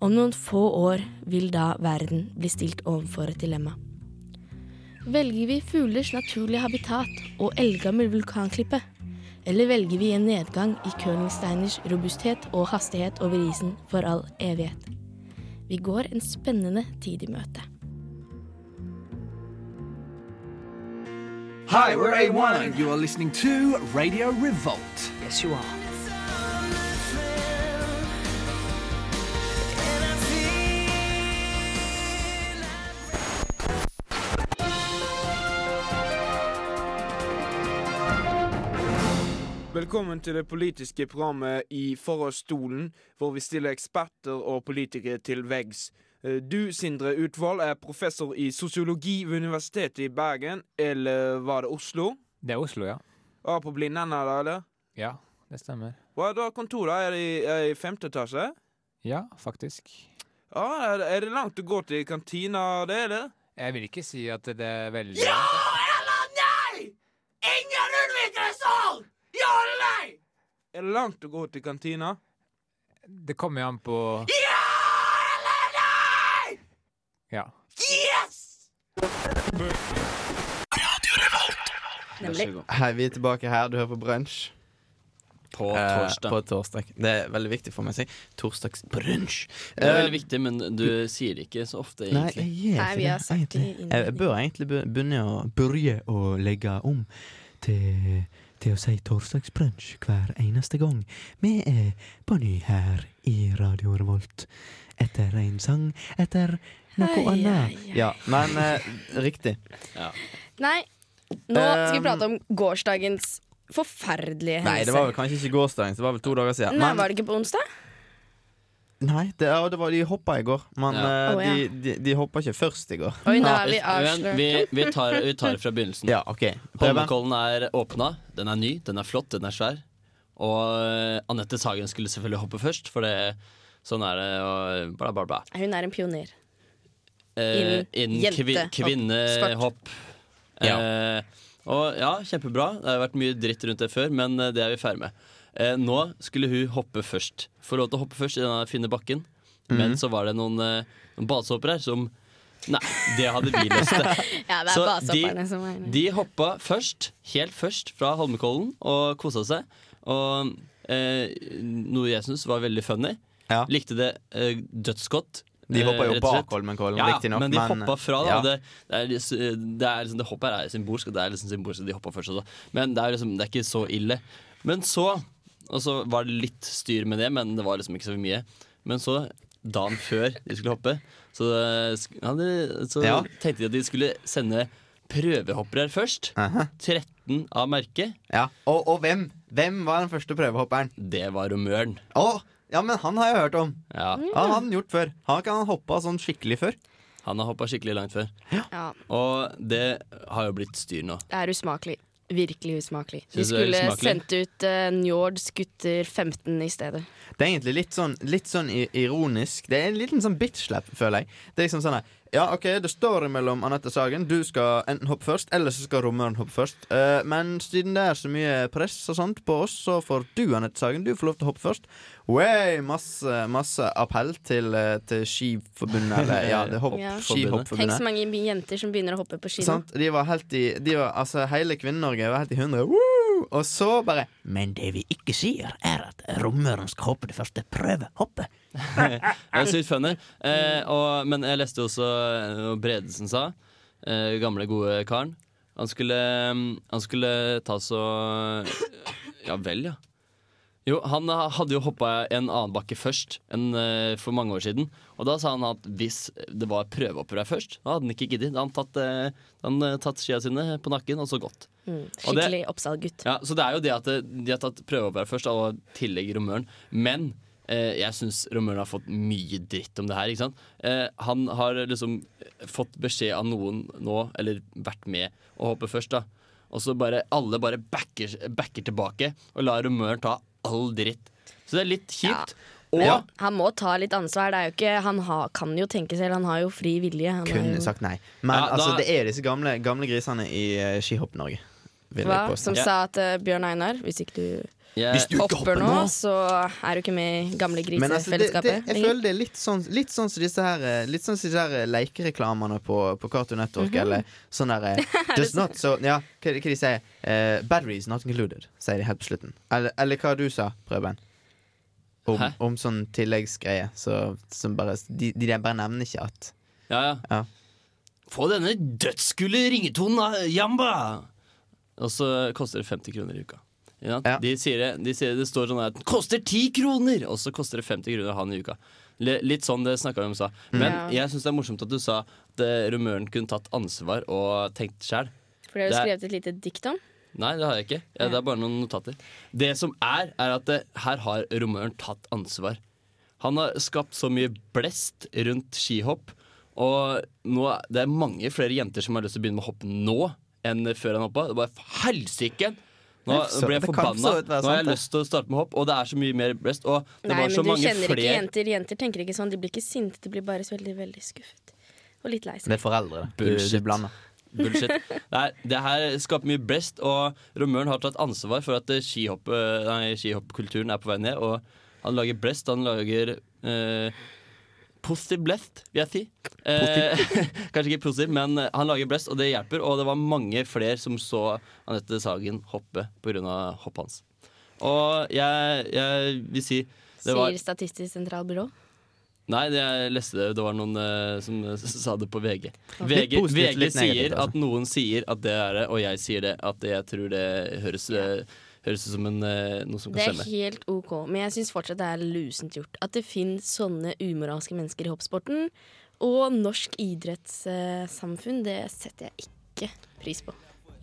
S1: Om noen få år vil da verden bli stilt overfor et dilemma. Velger vi fuglers naturlige habitat og eldgammel vulkanklippe? Eller velger vi en nedgang i curlingsteiners robusthet og hastighet over isen for all evighet? Vi går en spennende tid i møte.
S9: Hi, we're A1 and you are listening to Radio Revolt. Yes, you are.
S10: Velkommen til det politiske programmet i Forhåndsstolen, hvor vi stiller eksperter og politikere til veggs. Eh, Du, Sindre Utvold, er professor i sosiologi ved Universitetet i Bergen, eller var det Oslo?
S11: Det er Oslo, ja.
S10: Ja, på Blindern, eller? eller?
S11: Ja, det stemmer.
S10: Hva er da kontoret? Er det i, er det i femte etasje?
S11: Ja, faktisk.
S10: Ja, er det, er det langt å gå til kantina, det, eller?
S11: Jeg vil ikke si at det er veldig Ja!
S10: Er det langt å gå til kantina?
S11: Det kommer jo an på Ja eller nei! Ja.
S12: Nemlig.
S4: Hei, vi er tilbake her. Du hører på Brunsj.
S2: På
S4: Eh,
S2: torsdag.
S4: På torsdag. Det er veldig viktig for meg å si. Torsdagsbrunsj.
S2: det er veldig viktig, men du sier det ikke så ofte,
S4: Eh, Nei,
S2: egentlig.
S4: jeg gjør
S12: Nei,
S4: ikke
S12: vi har sagt det
S4: egentlig.
S12: i
S4: Jeg bør egentlig be- begynne å, børje å legge om til, til å si torsdagsbrunsj hver eneste gang. Vi er på ny her i Radio Revolt. Etter en sang, etter noe
S12: Ai,
S4: annet.
S12: ai, ai.
S4: Ja, men eh, riktig.
S12: Nei, nå skal vi
S4: Um,
S12: prate om gårsdagens forferdelige
S4: Nei,
S12: hendelse.
S4: det var vel kanskje ikke gårsdagens, det var vel to dager siden.
S12: Nei,
S4: Men-
S12: var det ikke på onsdag?
S4: Nei, det, ja, det var, de hoppa i går, men
S2: Ja.
S4: eh,
S12: Å, ja.
S4: de, de, de hoppa ikke først i går.
S12: Oi, nå er vi
S2: Men
S12: avslørt.
S2: vi, vi, tar, vi tar det fra begynnelsen.
S4: Ja, OK. Preben.
S2: Holmenkollen er åpna. Den er ny, den er flott, den er svær. Og eh, Anette Sagen skulle selvfølgelig hoppe først, for det, sånn er det. Og bla, bla, bla.
S12: Hun er en pioner.
S2: Eh,
S12: Innen
S2: Innen kvi,
S12: jentehopp.
S2: kvinnehopp. Eh, og ja, kjempebra. Det har vært mye dritt rundt det før, men eh, det er vi ferdig med. Eh, nå skulle hun hoppe først. Få lov til å hoppe først i denne fine bakken. Men så var det noen, eh, noen badesåper her som Nei, det hadde vi lyst til.
S12: Ja, det er
S2: Så
S12: basehopperne
S2: de-
S12: som er
S2: De hoppa først, helt først, fra Holmenkollen og kosa seg. Og eh, noe jeg syns var veldig funny.
S4: Ja.
S2: Likte det eh, dødsgodt.
S4: De hoppa
S2: eh,
S4: jo
S2: rett og slett.
S4: bak Holmenkollen,
S2: Ja,
S4: riktig nok,
S2: men de
S4: men-
S2: hoppa fra det.
S4: Ja.
S2: og Det, det, er, lis- det, er liksom, det hoppet her er symbolsk, og det er liksom symbolsk at de hoppa først. Også. Men det er, liksom, det er ikke så ille. Men så Og så var det litt styr med det, men det var liksom ikke så mye. Men så, dagen før de skulle hoppe, så, det sk- ja, det, så
S4: Ja.
S2: tenkte de at de skulle sende prøvehoppere her først. 13 av merket.
S4: Ja. Og, og hvem? Hvem var den første prøvehopperen?
S2: Det var romøren.
S4: Å, ja, men han har jeg hørt om.
S2: Ja,
S4: Han har han gjort før. Han kan han hoppa sånn skikkelig før.
S2: han har hoppa skikkelig langt før.
S12: Ja,
S2: Og det har jo blitt styr nå.
S12: det er usmakelig. Virkelig usmakelig. De
S2: Synes du det er
S12: skulle
S2: usmakelig?
S12: sendt ut uh, Njords gutter 15 i stedet.
S4: Det er egentlig litt sånn, litt sånn i- ironisk. Det er en liten sånn bitch-slap, føler jeg. Det er liksom sånn her, Ja, OK, det står mellom Anette Sagen. Du skal enten hoppe først, eller så skal rommeren hoppe først. Eh, men siden det er så mye press og sånt på oss, så får du, Anette Sagen, du får lov til å hoppe først. Way, masse, masse appell til, eh, til Skiforbundet, eller ja, det er hopp,
S12: Ja. Tenk
S4: Skihoppforbundet.
S12: så mange jenter som begynner å hoppe på ski nå.
S4: Sant? De var helt i de var, Altså, hele Kvinne-Norge var helt i hundre. Woo! Og så bare
S9: Men det vi ikke sier, er at rommøren skal hoppe det første prøvehoppet.
S2: Det er sykt funny. Eh, og, men jeg leste også eh, hva Bredesen sa, eh, gamle, gode karen. Han skulle, mm, han skulle ta så Ja vel, ja. Jo, han eh, hadde jo hoppa en annen bakke først enn eh, for mange år siden. Og da sa han at hvis det var prøvehoppere her først, da hadde han ikke giddet. Da hadde han tatt, eh, da hadde han, eh, tatt skia sine på nakken og så gått.
S1: Mm,
S2: Og det-
S1: skikkelig Oppsal-gutt.
S2: Ja, så det er jo det at eh, de har tatt prøvehoppere først, og i tillegg Romøren. Men eh, jeg syns Romøren har fått mye dritt om det her. ikke sant? Eh, han har liksom fått beskjed av noen nå, eller vært med å hoppe først, da. Og så bare alle bare backer, backer tilbake og lar Romøren ta all dritt. Så det er litt kjipt. Og
S1: Men Han må ta litt ansvar. Det er jo ikke, han har, kan jo tenke selv, han har jo fri vilje. Han er
S4: Kunne
S1: jo,
S4: sagt nei. Men
S2: Ja, da-
S4: altså, det er jo disse gamle, gamle grisene i eh, Skihopp-Norge. vil jeg
S1: hva?
S4: påstå.
S1: Som
S2: Ja.
S1: sa at eh, Bjørn Einar, hvis ikke du eh,
S2: jeg,
S1: hopper nå, så er du ikke med i gamle
S4: Men altså, det, det,
S1: grisefellesskapet.
S4: jeg føler det er litt sånn, litt sånn som disse her eh, Litt sånn som disse her eh, lekereklamene på, på Cartoon Network.
S1: Mhm.
S4: Eller sånn der eh, Does not so Ja, hva, hva de sier Eh, Battery is not included, sier de helt på slutten. Eller, eller hva du sa, Prøven. Om,
S2: Hæ?
S4: om sånn tilleggsgreie. Så, som bare, de, de der bare nevner ikke at
S2: Ja, ja.
S4: Ja.
S2: Få denne dødsgule ringetonen, da, Jamba! Og så koster det 50 kroner i uka. Ja,
S4: Ja.
S2: De, sier det, de sier det står sånn her at 'koster 10 kroner', og så koster det 50 kroner å ha den i uka. Le- Litt sånn det snakka vi om i stad. Men
S1: Ja.
S2: jeg syns det er morsomt at du sa at eh, rumøren kunne tatt ansvar og tenkt sjæl.
S1: For det har
S2: det
S1: du
S2: er-
S1: skrevet et lite dikt om.
S2: Nei, det har jeg ikke. Ja, det er bare noen notater. Det som er, er at eh, her har romøren tatt ansvar. Han har skapt så mye blest rundt skihopp, og nå, det er mange flere jenter som har lyst til å begynne med å hoppe nå enn før han hoppa. Det var helsike! Nå
S4: Det er så-
S2: ble jeg
S4: det kan for
S2: forbanna.
S4: så vidt være
S2: Nå har jeg
S4: sant, det.
S2: lyst til å starte med hopp, og det er så mye mer blest. Og det
S1: Nei,
S2: var
S1: men
S2: så
S1: du
S2: mange
S1: kjenner
S2: flere
S1: ikke jenter. Jenter tenker ikke sånn. De blir ikke sinte, de blir bare så veldig, veldig skuffet. Og litt lei seg.
S4: Det er foreldre. Du, du
S2: Bullshit.
S4: blander.
S2: Bullshit. Nei, det her skaper mye blest, og Romøren har tatt ansvar for at eh, skihopp, eh, nei, skihoppkulturen er på vei ned. Og han lager blest, han lager eh, positiv blest, vil jeg si. Eh, kanskje ikke positiv, men eh, han lager blest, og det hjelper. Og det var mange flere som så Anette Sagen hoppe pga. hoppet hans. Og jeg, jeg vil si det var,
S1: Sier Statistisk sentralbyrå.
S2: Nei, det jeg leste det. Det var noen eh, som eh, sa det på VG.
S4: Litt
S2: VG,
S4: positivt,
S2: VG
S4: litt negativt,
S2: sier
S4: altså.
S2: at noen sier at det er det, og jeg sier det. At jeg tror det høres, eh, høres ut som en, eh, noe som
S1: Det
S2: kan
S1: er
S2: stemme.
S1: helt OK, men jeg syns fortsatt det er lusent gjort. At det finnes sånne umoralske mennesker i hoppsporten. Og norsk idrettssamfunn, det setter jeg ikke pris på.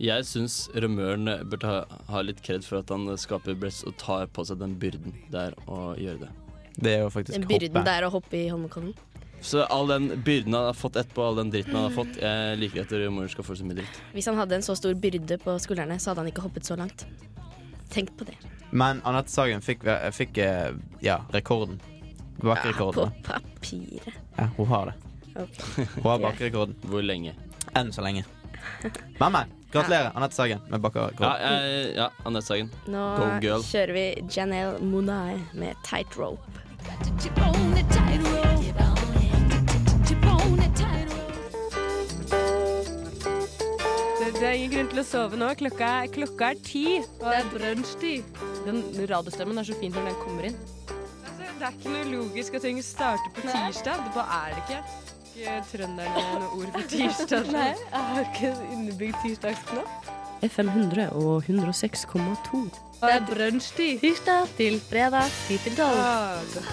S2: Jeg syns Remøren burde ha, ha litt kred for at han eh, skaper blest og tar på seg den byrden det er å gjøre det.
S4: Det er jo faktisk
S1: Den byrden
S4: hoppe.
S1: det er å hoppe i Holmenkollen.
S2: Så all den byrden han har fått etterpå, all den dritten han har fått Jeg liker at Remøren skal få så mye dritt.
S1: Hvis han hadde en så stor byrde på skuldrene, så hadde han ikke hoppet så langt. Tenk på det.
S4: Men Anette Sagen fikk, fikk eh, ja, rekorden.
S1: På
S4: Bakkerekorden.
S1: papiret.
S4: Ja, hun har det. Hun har bakkerekorden.
S2: Hvor lenge?
S4: Enn så lenge. Men, men. Gratulerer, Anette Sagen, med
S2: Ja,
S4: bakkerekord.
S2: jeg, ja Anette Sagen.
S1: Nå
S2: Go, girl.
S1: kjører vi Janelle Monae med Tight Rope.
S11: Det er ingen grunn til å sove nå. Klokka, er ti. det er brunsjtid. Den radiostemmen er så fin når den kommer inn. Altså, det er ikke noe logisk at ting starter på tirsdag. Det bare er det ikke. Ikke trønderne noe ord for tirsdag. Nei, jeg har ikke innebygd tirsdagsknapp. FM 100 og 106,2. Det er brunsjtid. Tirsdag til fredag, ti til tolv.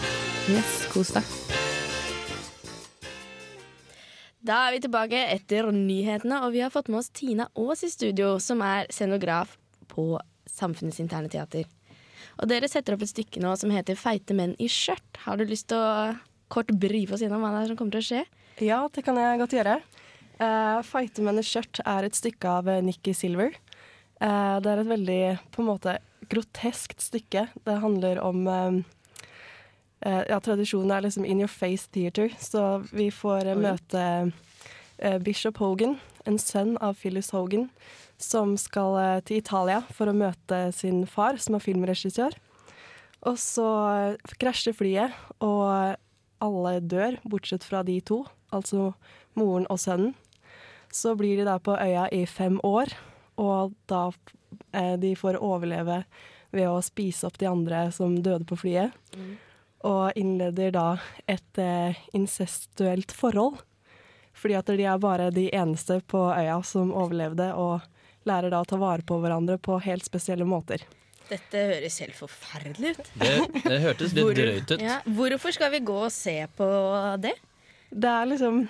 S11: Yes, kos deg.
S1: Da er vi tilbake etter nyhetene, og vi har fått med oss Tina Aas i studio, som er scenograf på Samfunnets interne teater. Og dere setter opp et stykke nå som heter 'Feite menn i skjørt'. Har du lyst til å kort brife oss gjennom hva det er som kommer til å skje?
S11: Ja, det kan jeg godt gjøre. Uh, Fighter menn i skjørt er et stykke av eh, Nikki Silver. Eh, det er et veldig på en måte groteskt stykke. Det handler om eh, eh, Ja, tradisjonen er liksom in your face theater, så vi får eh, møte eh, Bishop Hogan, en sønn av Phyllis Hogan, som skal eh, til Italia for å møte sin far, som er filmregissør. Og så eh, krasjer flyet, og alle dør, bortsett fra de to, altså moren og sønnen. Så blir de da på øya i fem år, og da eh, de får overleve ved å spise opp de andre som døde på flyet. Og innleder da et eh, incestuelt forhold. Fordi at de er bare de eneste på øya som overlevde, og lærer da å ta vare på hverandre på helt spesielle måter.
S1: Dette høres helt forferdelig ut.
S2: Det, det hørtes litt drøyt ut.
S1: Ja, hvorfor skal vi gå og se på det?
S11: Det er liksom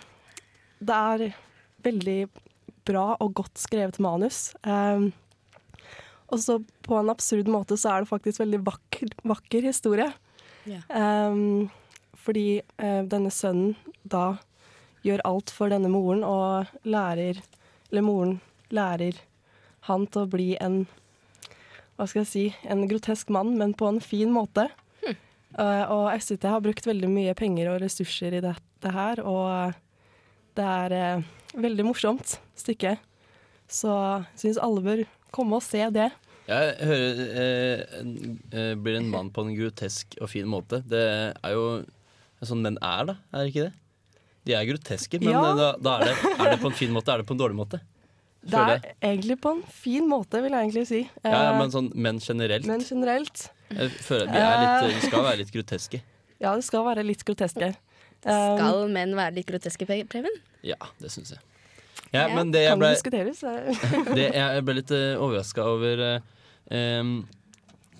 S11: Det er veldig bra og godt skrevet manus. Ehm, og så på en absurd måte så er det faktisk veldig vakker, vakker historie.
S1: Ja.
S11: Ehm, fordi eh, denne sønnen da gjør alt for denne moren og lærer Eller moren lærer han til å bli en Hva skal jeg si En grotesk mann, men på en fin måte. Eh, og SIT har brukt veldig mye penger og ressurser i dette her, og det er eh, veldig morsomt stykke. Så syns alle bør komme og se det.
S2: Jeg hører eh, en- eh, Blir en mann på en grotesk og fin måte. Det er jo sånn menn er, da. Er det ikke det? De er groteske, men
S11: Ja.
S2: eh, da, da er, det, er det på en fin måte, er det på en dårlig måte?
S11: Det
S2: Føler
S11: er
S2: jeg.
S11: egentlig på en fin måte, vil jeg egentlig si.
S2: Ja, ja,
S11: Eh,
S2: men sånn menn generelt.
S11: men generelt
S2: Jeg føler at de, er litt,
S11: Eh.
S2: de skal være litt groteske.
S11: Ja, det skal være litt Um, groteske.
S1: Skal menn være litt groteske, Pe- Preben?
S2: Ja, det syns jeg. Ja,
S1: Ja,
S2: men det jeg
S11: kan
S2: ble,
S11: diskuteres. eh.
S2: det, jeg ble litt overraska over eh, em,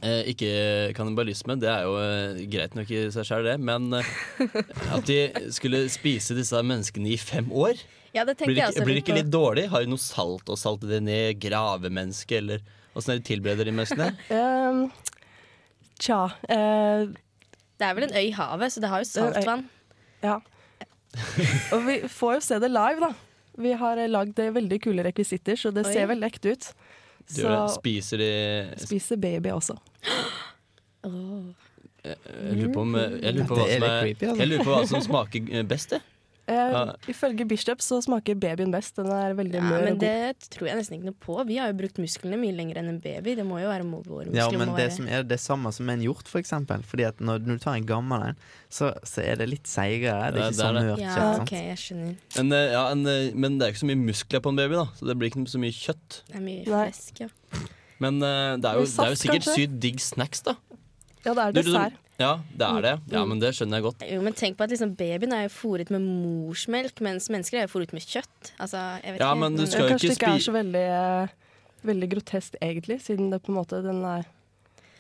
S2: eh, Ikke kannibalisme, det er jo eh, greit nok i seg sjøl, det, men eh, at de skulle spise disse menneskene i fem år
S1: Ja, det
S2: Blir
S1: tenkte
S2: det
S1: jeg
S2: ikke,
S1: også
S2: blir det ikke
S1: på.
S2: litt dårlig? Har de noe salt og salte det ned? Grave mennesket, eller åssen er det de tilbereder de menneskene?
S11: Ehm, tja eh,
S1: Det er vel en øy i havet, så det har jo
S11: er en øy.
S1: saltvann.
S11: Ja. Og vi får jo se det live, da. Vi har eh, lagd eh, veldig kule rekvisitter, så det
S1: Oi.
S11: ser vel lekt ut.
S2: De gjør det. Spiser de
S11: Spise baby også.
S2: Jeg jeg lurer på, om,
S1: Mm.
S2: jeg lurer på,
S4: Ja,
S2: hva,
S4: det er
S2: som
S4: litt
S2: er,
S4: creepy, altså.
S2: jeg lurer på hva som smaker eh, best, jeg.
S11: Eh,
S2: Ja.
S11: Ifølge Bishop så smaker babyen best. Den er veldig
S1: Ja,
S11: mør
S1: men
S11: og god.
S1: det tror jeg nesten ikke noe på. Vi har jo brukt musklene mye lenger enn en baby. Det må jo være må- våre muskler.
S4: Ja, men
S1: må
S4: det
S1: være.
S4: som er det samme som en hjort, for eksempel. Fordi at når, når du tar en gammel en, så, så er det litt seigere. Det
S2: Ja, det
S4: er ikke
S2: er
S4: så
S2: det.
S4: mørt
S1: ja,
S4: kjøtt.
S1: ok,
S4: Sant?
S1: jeg skjønner.
S2: Men, eh, ja, en, eh, men det er jo ikke så mye muskler på en baby, da, så det blir ikke så mye kjøtt.
S1: Det er mye
S11: Nei.
S1: flesk, ja.
S2: Men eh, det, er jo, det er
S11: Med
S2: jo
S11: saft,
S2: sikkert
S11: kanskje?
S2: sykt digg snacks, da.
S11: Ja, det er
S2: Du, du, du-
S11: dessert.
S2: ja, det er det. Ja, men det skjønner jeg godt.
S1: Jo, men tenk på at liksom, babyen er jo fôret med morsmelk, mens mennesker er jo fôret med kjøtt. Altså, jeg vet
S2: Ja,
S1: ikke.
S2: men du
S1: Mm.
S2: skal jo
S11: Eh, Kanskje
S2: ikke
S11: det ikke er
S2: spise
S11: så veldig, eh, veldig grotesk egentlig, siden det på en måte den er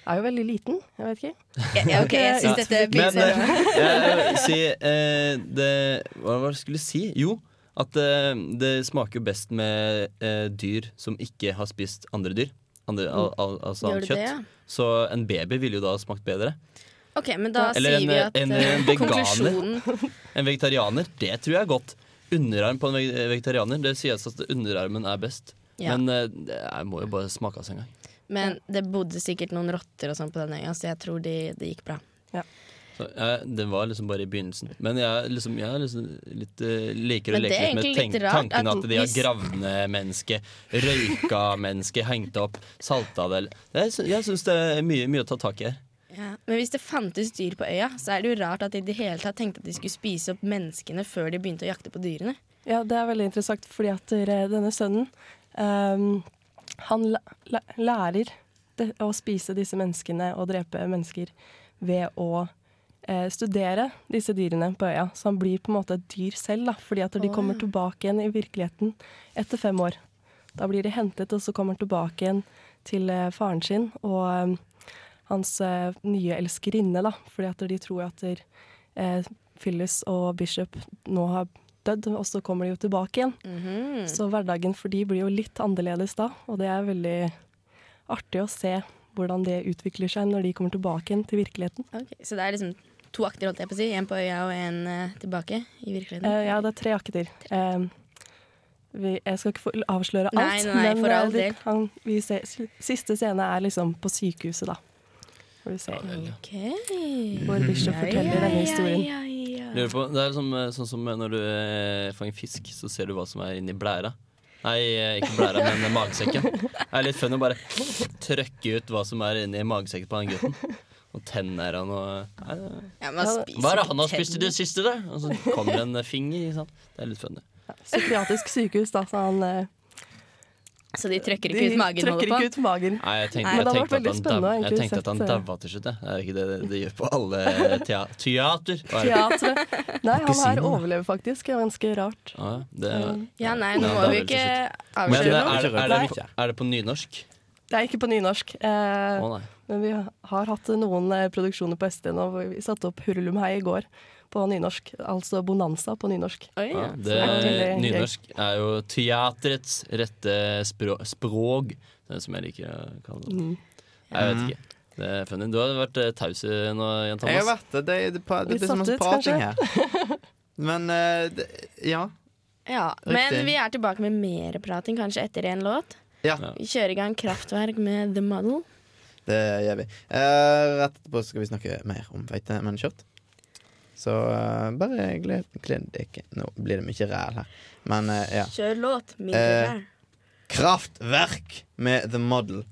S11: er jo veldig liten, jeg vet ikke.
S1: ja, ja, ok, jeg syns
S2: Ja.
S1: dette
S2: Men
S1: begynner
S2: eh, jeg vil si eh, det, Hva var det jeg skulle si? Jo, at eh, det smaker jo best med eh, dyr som ikke har spist andre dyr. Andre, al, al, altså
S1: Gjør
S2: annet
S1: det
S2: kjøtt.
S1: det, ja?
S2: Så en baby ville jo da smakt bedre.
S1: Ok, men da
S2: Eller en-
S1: sier vi at
S2: en-
S1: eh,
S2: en veganer.
S1: konklusjonen
S2: En vegetarianer, det tror jeg er godt. Underarm på en veg- vegetarianer, det sies at underarmen er best.
S1: Ja.
S2: Men eh, det er- må jo bare smake av seg en gang.
S1: Men det bodde sikkert noen rotter og sånn på den øya, så jeg tror de, det gikk bra.
S2: Så, jeg, det var liksom bare i begynnelsen. Men jeg, liksom, jeg er liksom litt, eh, liker å
S1: Men det
S2: leke
S1: er
S2: litt med
S1: egentlig
S2: tenk,
S1: litt rart
S2: tanken
S1: at
S2: at de har
S1: hvis-
S2: gravd ned mennesket, røyka mennesket, hengt opp, salta det eller- Jeg, sy- jeg syns det er mye, mye å ta tak i her.
S1: Ja. Men hvis det fantes dyr på øya, så er det jo rart at de i det hele tatt tenkte at de skulle spise opp menneskene før de begynte å jakte på dyrene.
S11: Ja, det er veldig interessant, fordi at eh, denne sønnen, ehm, han læ- læ- lærer det, å spise disse menneskene og drepe mennesker ved å eh, studere disse dyrene på øya. Så han blir på en måte et dyr selv, da, fordi at når de kommer tilbake igjen i virkeligheten etter fem år. Da blir de hentet, og så kommer han tilbake igjen til eh, faren sin og eh, hans eh, nye elskerinne, da, fordi at de tror at der, eh, Phyllis og Bishop nå har dødd, og så kommer de jo tilbake igjen.
S1: Mhm.
S11: Så hverdagen for de blir jo litt annerledes da, og det er veldig artig å se hvordan det utvikler seg når de kommer tilbake igjen til virkeligheten.
S1: Ok, Så det er liksom to akter, holdt jeg på å si. En på øya og en eh, tilbake i virkeligheten.
S11: Eh, ja, det er tre akter. Eh, vi, jeg skal ikke få avsløre alt,
S1: Nei, nei, nei, for
S11: eh,
S1: all
S11: de
S1: del.
S11: kan, vi ser, siste scene er liksom på sykehuset, da. Hvor vi ser
S1: Ok.
S11: hvor Bishop forteller denne historien.
S1: Ja, ja, ja.
S2: Lurer på, det er som, eh, sånn som når du eh, fanger fisk, så ser du hva som er inni blæra. Nei, eh, ikke blæra, men magesekken. Det er litt fun å bare trøkke ut hva som er inni magesekken på den gutten. Og tenner han og Nei, det er-
S1: Ja, man spiser
S2: Hva er det
S1: ikke
S2: han har spist i
S1: tenner.
S2: det siste, da? Og så kommer en eh, finger. Ikke sant? Det er litt funny.
S11: Psykiatrisk sykehus, da, så han eh,
S1: Så de trøkker ikke
S11: de
S1: ut magen?
S11: trykker
S1: holder på?
S11: ikke ut magen.
S2: Nei, jeg tenkte,
S11: Nei,
S2: jeg
S11: det hadde
S2: tenkte, at,
S11: vært veldig
S2: han
S11: spennende å
S2: daua- jeg
S11: egentlig
S2: tenkte at han
S11: sett, eh,
S2: daua til slutt. jeg. Er det ikke det det- det gjør på alle tea teater? Hva er det?
S11: Teatret. Nei, han
S2: Kusinen,
S11: her
S2: da.
S11: overlever faktisk. Det er ganske rart.
S2: Ja, det er-
S11: Mm.
S1: Ja, nei, nå
S2: Ja,
S1: må
S2: da
S1: vi
S2: er
S1: ikke
S2: det til slutt. Men
S1: avsløre noe.
S2: eh, er, er,
S4: Nei.
S2: det, er det på nynorsk?
S11: Det er ikke på nynorsk. Eh,
S2: Å, nei.
S11: men vi har hatt noen eh, produksjoner på ST nå. hvor Vi satte opp Hurlumhei i går på nynorsk. Altså Bonanza på nynorsk.
S2: Ja,
S11: Så
S2: det,
S11: er veldig gøy.
S2: nynorsk er jo teatrets rette språ, språk, det er som jeg liker å kalle det.
S11: Mm.
S2: Jeg vet ikke. Det er funny. Du har vært eh, taus eh, nå, Jan
S4: Jeg har
S2: Thomas.
S4: vært det. Det, det, pa- det
S11: Litt
S4: blir så masse
S11: satt ut,
S4: prating her. Men eh, det, ja.
S1: Ja,
S4: Riktig.
S1: Men vi er tilbake med mer prating kanskje etter en låt.
S4: ja.
S1: Vi kjører i gang Kraftverk med The Model.
S4: Det gjør vi. Eh, rett etterpå skal vi snakke mer om feite menn kjørt. Så eh, bare gled gled dere. Nå blir det mye ræl her. Men eh, ja.
S1: Kjør låt.
S4: Eh,
S1: Mindre
S4: Kraftverk med The Model.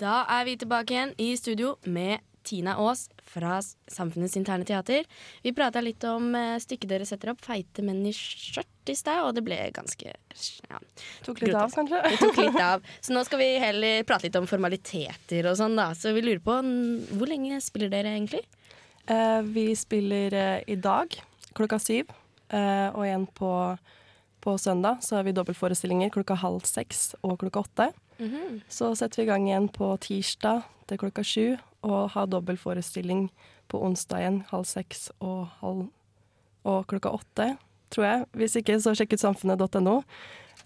S1: Da er vi tilbake igjen i studio med Tina Aas fra S- Samfunnets interne teater. Vi prata litt om eh, stykket dere setter opp, 'Feite menn i skjørt' i stad, og det ble ganske ja,
S11: Tok litt av,
S1: Det
S11: kanskje.
S1: tok litt av. Så nå skal vi heller prate litt om formaliteter og sånn, da. Så vi lurer på n- hvor lenge spiller dere egentlig?
S11: Eh, vi spiller eh, i dag klokka syv, eh, og igjen på, på søndag så har vi dobbeltforestillinger klokka halv seks og klokka åtte.
S1: Mhm.
S11: Så setter vi i gang igjen på tirsdag til klokka sju, og har dobbeltforestilling på onsdag igjen halv seks og, halv, og klokka åtte, tror jeg. Hvis ikke, så sjekk ut samfunnet.no.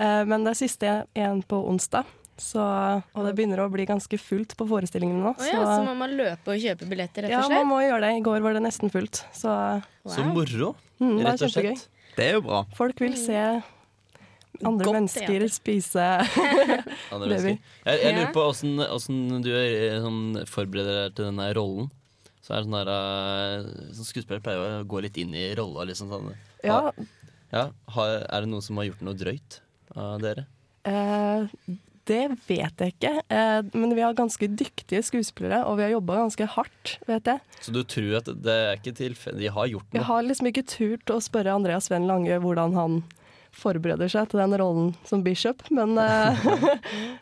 S11: Eh, men det er siste igjen på onsdag. Så, og det begynner å bli ganske fullt på forestillingene nå.
S1: Å ja, så må man løpe og kjøpe billetter, rett
S11: Ja,
S1: og
S11: man
S1: slett?
S11: må gjøre det. I går var det nesten fullt. Så
S2: Så moro,
S11: mm, det er
S2: rett og
S11: kjempegøy.
S2: slett.
S4: Det er jo bra.
S11: Folk vil se andre
S1: Godt
S11: mennesker
S1: teater.
S11: spise
S2: Ja, det
S11: Det
S2: er
S11: vi.
S2: ganske- jeg, jeg lurer
S1: Ja.
S2: på åssen- åssen du eh, sånn, forbereder deg til denne rollen. Så er det sånn der, eh, sånn Skuespillere pleier å gå litt inn i rolla, liksom. Sånn.
S11: Ja,
S2: Ja, har, er det noen som har gjort noe drøyt av dere?
S11: eh, det vet jeg ikke. Eh, men vi har ganske dyktige skuespillere, og vi har jobba ganske hardt, vet jeg.
S2: Så du tror at det er ikke tilfeldig? De har gjort
S11: Jeg
S2: noe?
S11: har liksom ikke turt å spørre Andreas Sven Lange hvordan han forbereder seg til den rollen som bishop, men eh,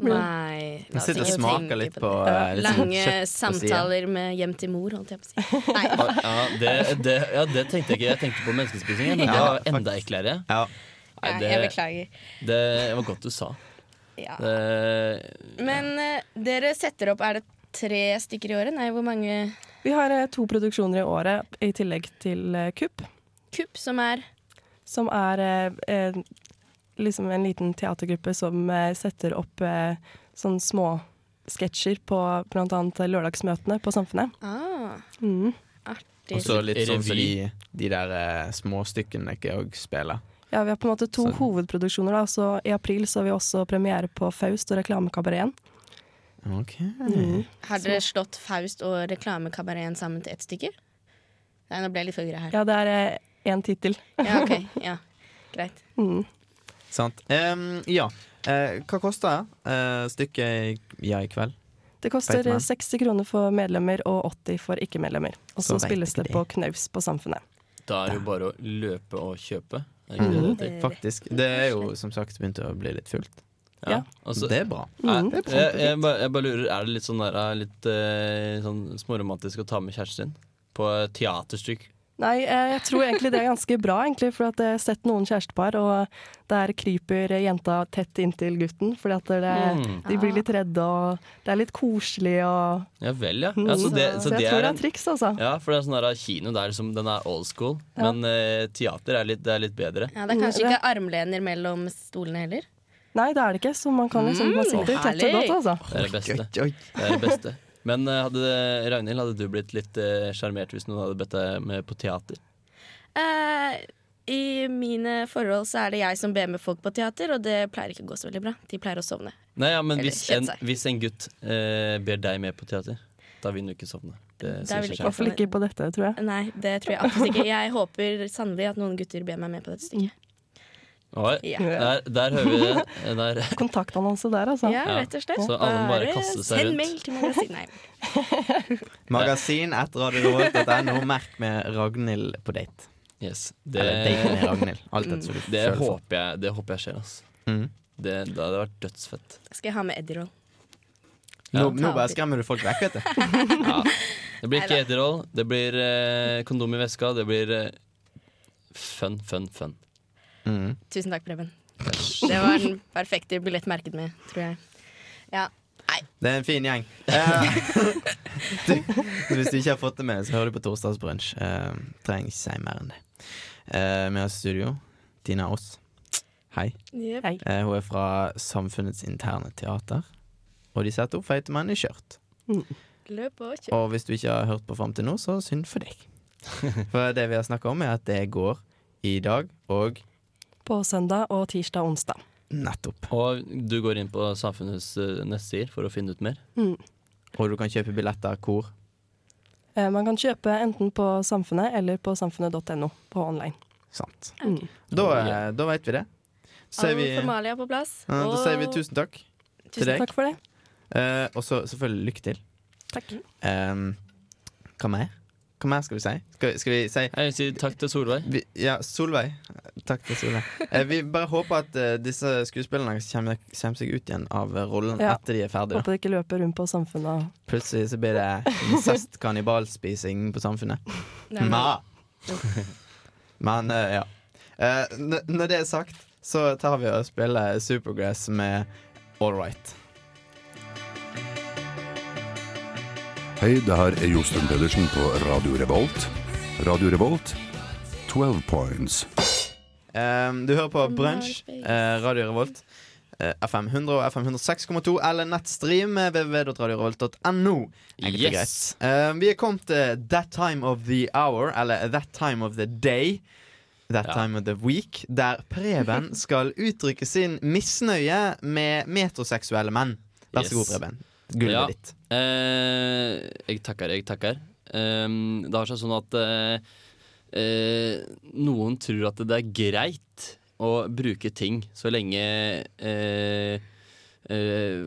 S1: Nei. la
S4: Jeg
S1: oss
S4: sitter og
S1: ikke tenke
S4: smaker litt på eh, litt sånn
S1: Lange
S4: kjøtt på siden.
S1: samtaler med hjem til mor, holdt jeg på å si. Nei.
S2: Ja det, det, ja, det tenkte jeg ikke. Jeg tenkte på menneskespising, men det
S4: Ja,
S2: var enda eklere.
S4: Ja.
S2: Nei,
S1: Nei, jeg
S2: det,
S1: beklager.
S2: det var godt du sa.
S1: Ja.
S2: Det,
S1: Men eh, dere setter opp, er det tre stykker i året? Nei, hvor mange
S11: vi har eh, to produksjoner i året i tillegg til eh, kupp.
S1: kupp som er?
S11: som er eh, eh, liksom en liten teatergruppe som eh, setter opp eh, sånne små sketsjer på bl.a. lørdagsmøtene på Samfunnet.
S1: Ah,
S11: Mm.
S1: artig.
S4: Og så litt sånn som
S2: Revy.
S4: de, de der eh, småstykkene jeg òg spiller.
S11: Ja, vi har på en måte to
S4: Så-
S11: hovedproduksjoner. Da. Så I april så har vi også premiere på Faust og Reklamekabareten.
S4: Ok
S1: Har dere slått Faust og reklamekabareten sammen til ett stykke? Nei, nå ble jeg litt forvirra her.
S11: Ja, det er eh, én tittel.
S1: Ja, ok, ja. Greit.
S11: Mm.
S4: Sant. Em, ja. Eh, hva koster eh, stykket i- ja, i kveld?
S11: Det koster
S4: Feitmann.
S11: 60 kroner for medlemmer og 80 for ikke-medlemmer. Og
S4: Så
S11: så
S4: vet
S11: spilles
S4: ikke
S11: det
S4: de.
S11: på knaus på Samfunnet.
S2: da er det jo bare å løpe og kjøpe. Er det
S4: Mhm.
S2: ikke det det heter?
S4: Faktisk. Det er jo som sagt begynt å bli litt fullt.
S2: Ja. Altså,
S4: det er bra.
S1: Mm.
S2: er,
S4: Det er
S2: jeg, jeg, bare, jeg bare lurer, er det litt sånn der, eh, litt eh, sånn småromantisk å ta med kjæresten din på et teaterstykke?
S11: Nei, eh, jeg tror egentlig det er ganske bra, egentlig, for at jeg har sett noen kjærestepar, og der kryper jenta tett inntil gutten, fordi at det,
S2: Mm.
S11: de blir litt redde, og det er litt koselig, og Mm.
S2: Ja vel, ja. ja
S1: Mm.
S2: så det, så
S11: jeg
S2: det
S11: tror
S2: er
S11: det
S2: en,
S11: er triks, altså.
S2: ja, for det er sånn der, eh, kino det er liksom, den er old school,
S11: Ja.
S2: men eh, teater er litt, det er litt bedre.
S1: Mm, Ja, det er kanskje ikke armlener mellom stolene heller?
S11: Nei, det er det ikke, så man kan
S2: Mm.
S11: liksom Man sitter tett og
S1: herlig.
S11: godt, altså.
S2: Det er det beste. Det er det beste. Men eh, hadde, Ragnhild, hadde du blitt litt eh, sjarmert hvis noen hadde bedt deg med på teater?
S1: Eh, I mine forhold så er det jeg som ber med folk på teater, og det pleier ikke å gå så veldig bra. De pleier å sovne.
S2: Nei, ja, men
S1: Eller
S2: hvis en,
S1: kjede seg.
S2: hvis en gutt eh, ber deg med på teater, da vil du ikke sovne. Det
S1: Da
S2: sier
S1: vil
S2: seg
S1: ikke-
S11: I hvert
S2: selv.
S11: fall ikke på dette, tror jeg.
S1: Nei, det tror jeg absolutt ikke. Jeg håper sannelig at noen gutter ber meg med på dette stykket.
S2: Oi,
S1: Ja.
S2: der, der hører vi det. Eh, Der.
S11: Kontaktannonse der, altså.
S1: Ja,
S2: Ja.
S1: rett og slett.
S2: Så alle må bare kaste seg
S1: Send
S2: rundt.
S1: mail til magasinet. Nei.
S4: Magasin etter radiorevolt.no. Merk med Ragnhild på date.
S2: Yes.
S4: Det,
S2: Det, Mm.
S4: Eller date med Ragnhild. Alt etter som du
S2: det,
S4: føler for.
S2: håper jeg, det håper jeg skjer, altså.
S4: Mm.
S2: Det, det hadde vært dødsfett.
S1: Skal jeg ha med Eddie Roll?
S4: Nå, nå bare skremmer du folk vekk, vet du.
S2: Det blir ikke eterroll, det blir eh, kondom i veska, det blir eh, fun, fun, fun.
S4: Mm.
S1: Tusen takk, Preben. Det var den perfekte billett merket med, tror jeg. Ja.
S4: Det er en fin gjeng. Eh, du, så hvis du ikke har fått det med, deg, så hører du på Torsdagsbrunsj. Eh, trenger ikke si mer enn det. Eh, med oss i studio, Tina Aas. Hei.
S11: Hei.
S4: Eh, hun er fra Samfunnets interne teater. Og de setter opp feite menn i skjørt.
S1: Løp og kjør.
S4: Og hvis du ikke har hørt på fram til nå, så synd for deg. For det vi har snakka om, er at det går i dag og
S11: På søndag og tirsdag og onsdag.
S4: nettopp.
S2: Og du går inn på Samfunnets eh, nettsider for å finne ut mer.
S4: Og du kan kjøpe billetter hvor.
S11: Eh, Man kan kjøpe enten på Samfunnet eller på samfunnet.no på online.
S4: Sant.
S11: Mm.
S4: Da, eh, da veit vi det. Så sier
S1: All
S4: vi, ja,
S1: formalia på plass.
S4: da
S1: og-
S4: sier vi tusen takk. til
S11: Tusen
S4: deg.
S11: takk for det.
S4: Eh, og så selvfølgelig lykke til.
S11: Takk.
S4: Ehm, hva mer? Hva mer skal vi si? Skal, skal vi si
S2: Jeg vil si takk til Solveig.
S4: vi, Ja, Solveig. Takk til Solveig. Eh, vi bare håper at eh, disse skuespillerne kommer, kommer seg ut igjen av eh, rollen
S11: Ja.
S4: etter de er ferdige. Da.
S11: Håper de ikke løper rundt på Samfunnet. og-
S4: Plutselig så blir det incest-kannibalspising på Samfunnet.
S1: Det er-
S4: Ma. Men eh, ja. Eh, n- når det er sagt, så tar vi og spiller Supergrass med All Right.
S13: Hei, det her er Josten Pedersen på Radio Revolt. Radio Revolt, 12 points.
S4: Um, du hører på Brunch, eh, Radio Revolt. eh, FM 100 og FM 106,2 eller nettstream eh, www.radiorevolt.no. Enkelt og
S2: Yes.
S4: greit. Um, vi er kommet til That Time of the Hour, eller That Time of the Day. That
S2: Ja.
S4: Time of the Week, der Preben skal uttrykke sin misnøye med metroseksuelle menn. Vær
S2: Yes.
S4: så god, Preben. Gulvet
S2: Ja.
S4: ditt.
S2: Eh, jeg takker, jeg takker. Ehm, det har seg sånn at eh, eh, noen tror at det er greit å bruke ting så lenge eh, eh,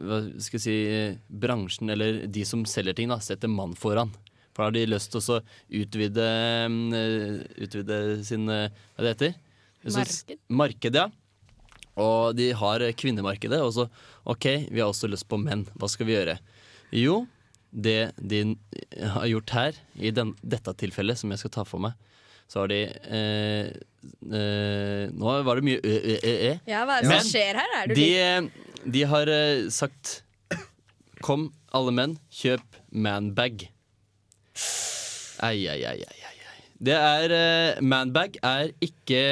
S2: Hva skal jeg si eh, Bransjen, eller de som selger ting, da, setter mann foran. For da har de lyst til å så utvide mm, eh, Utvide sin eh, Hva det heter Så-
S1: Marked.
S2: Marked, ja. Og de har eh, kvinnemarkedet. Og så OK, vi har også lyst på menn. Hva skal vi gjøre? Jo, det de eh, har gjort her, i den, dette tilfellet, som jeg skal ta for meg, så har de eh, eh, Nå var det mye ø, ø, ø, ø.
S1: Ja, hva er det
S2: Men
S1: som skjer her? Er du
S2: De,
S1: litt-
S2: de har eh, sagt Kom, alle menn, kjøp manbag. Ai, ai, ai, ai, ai. ai. Det er eh, Manbag er ikke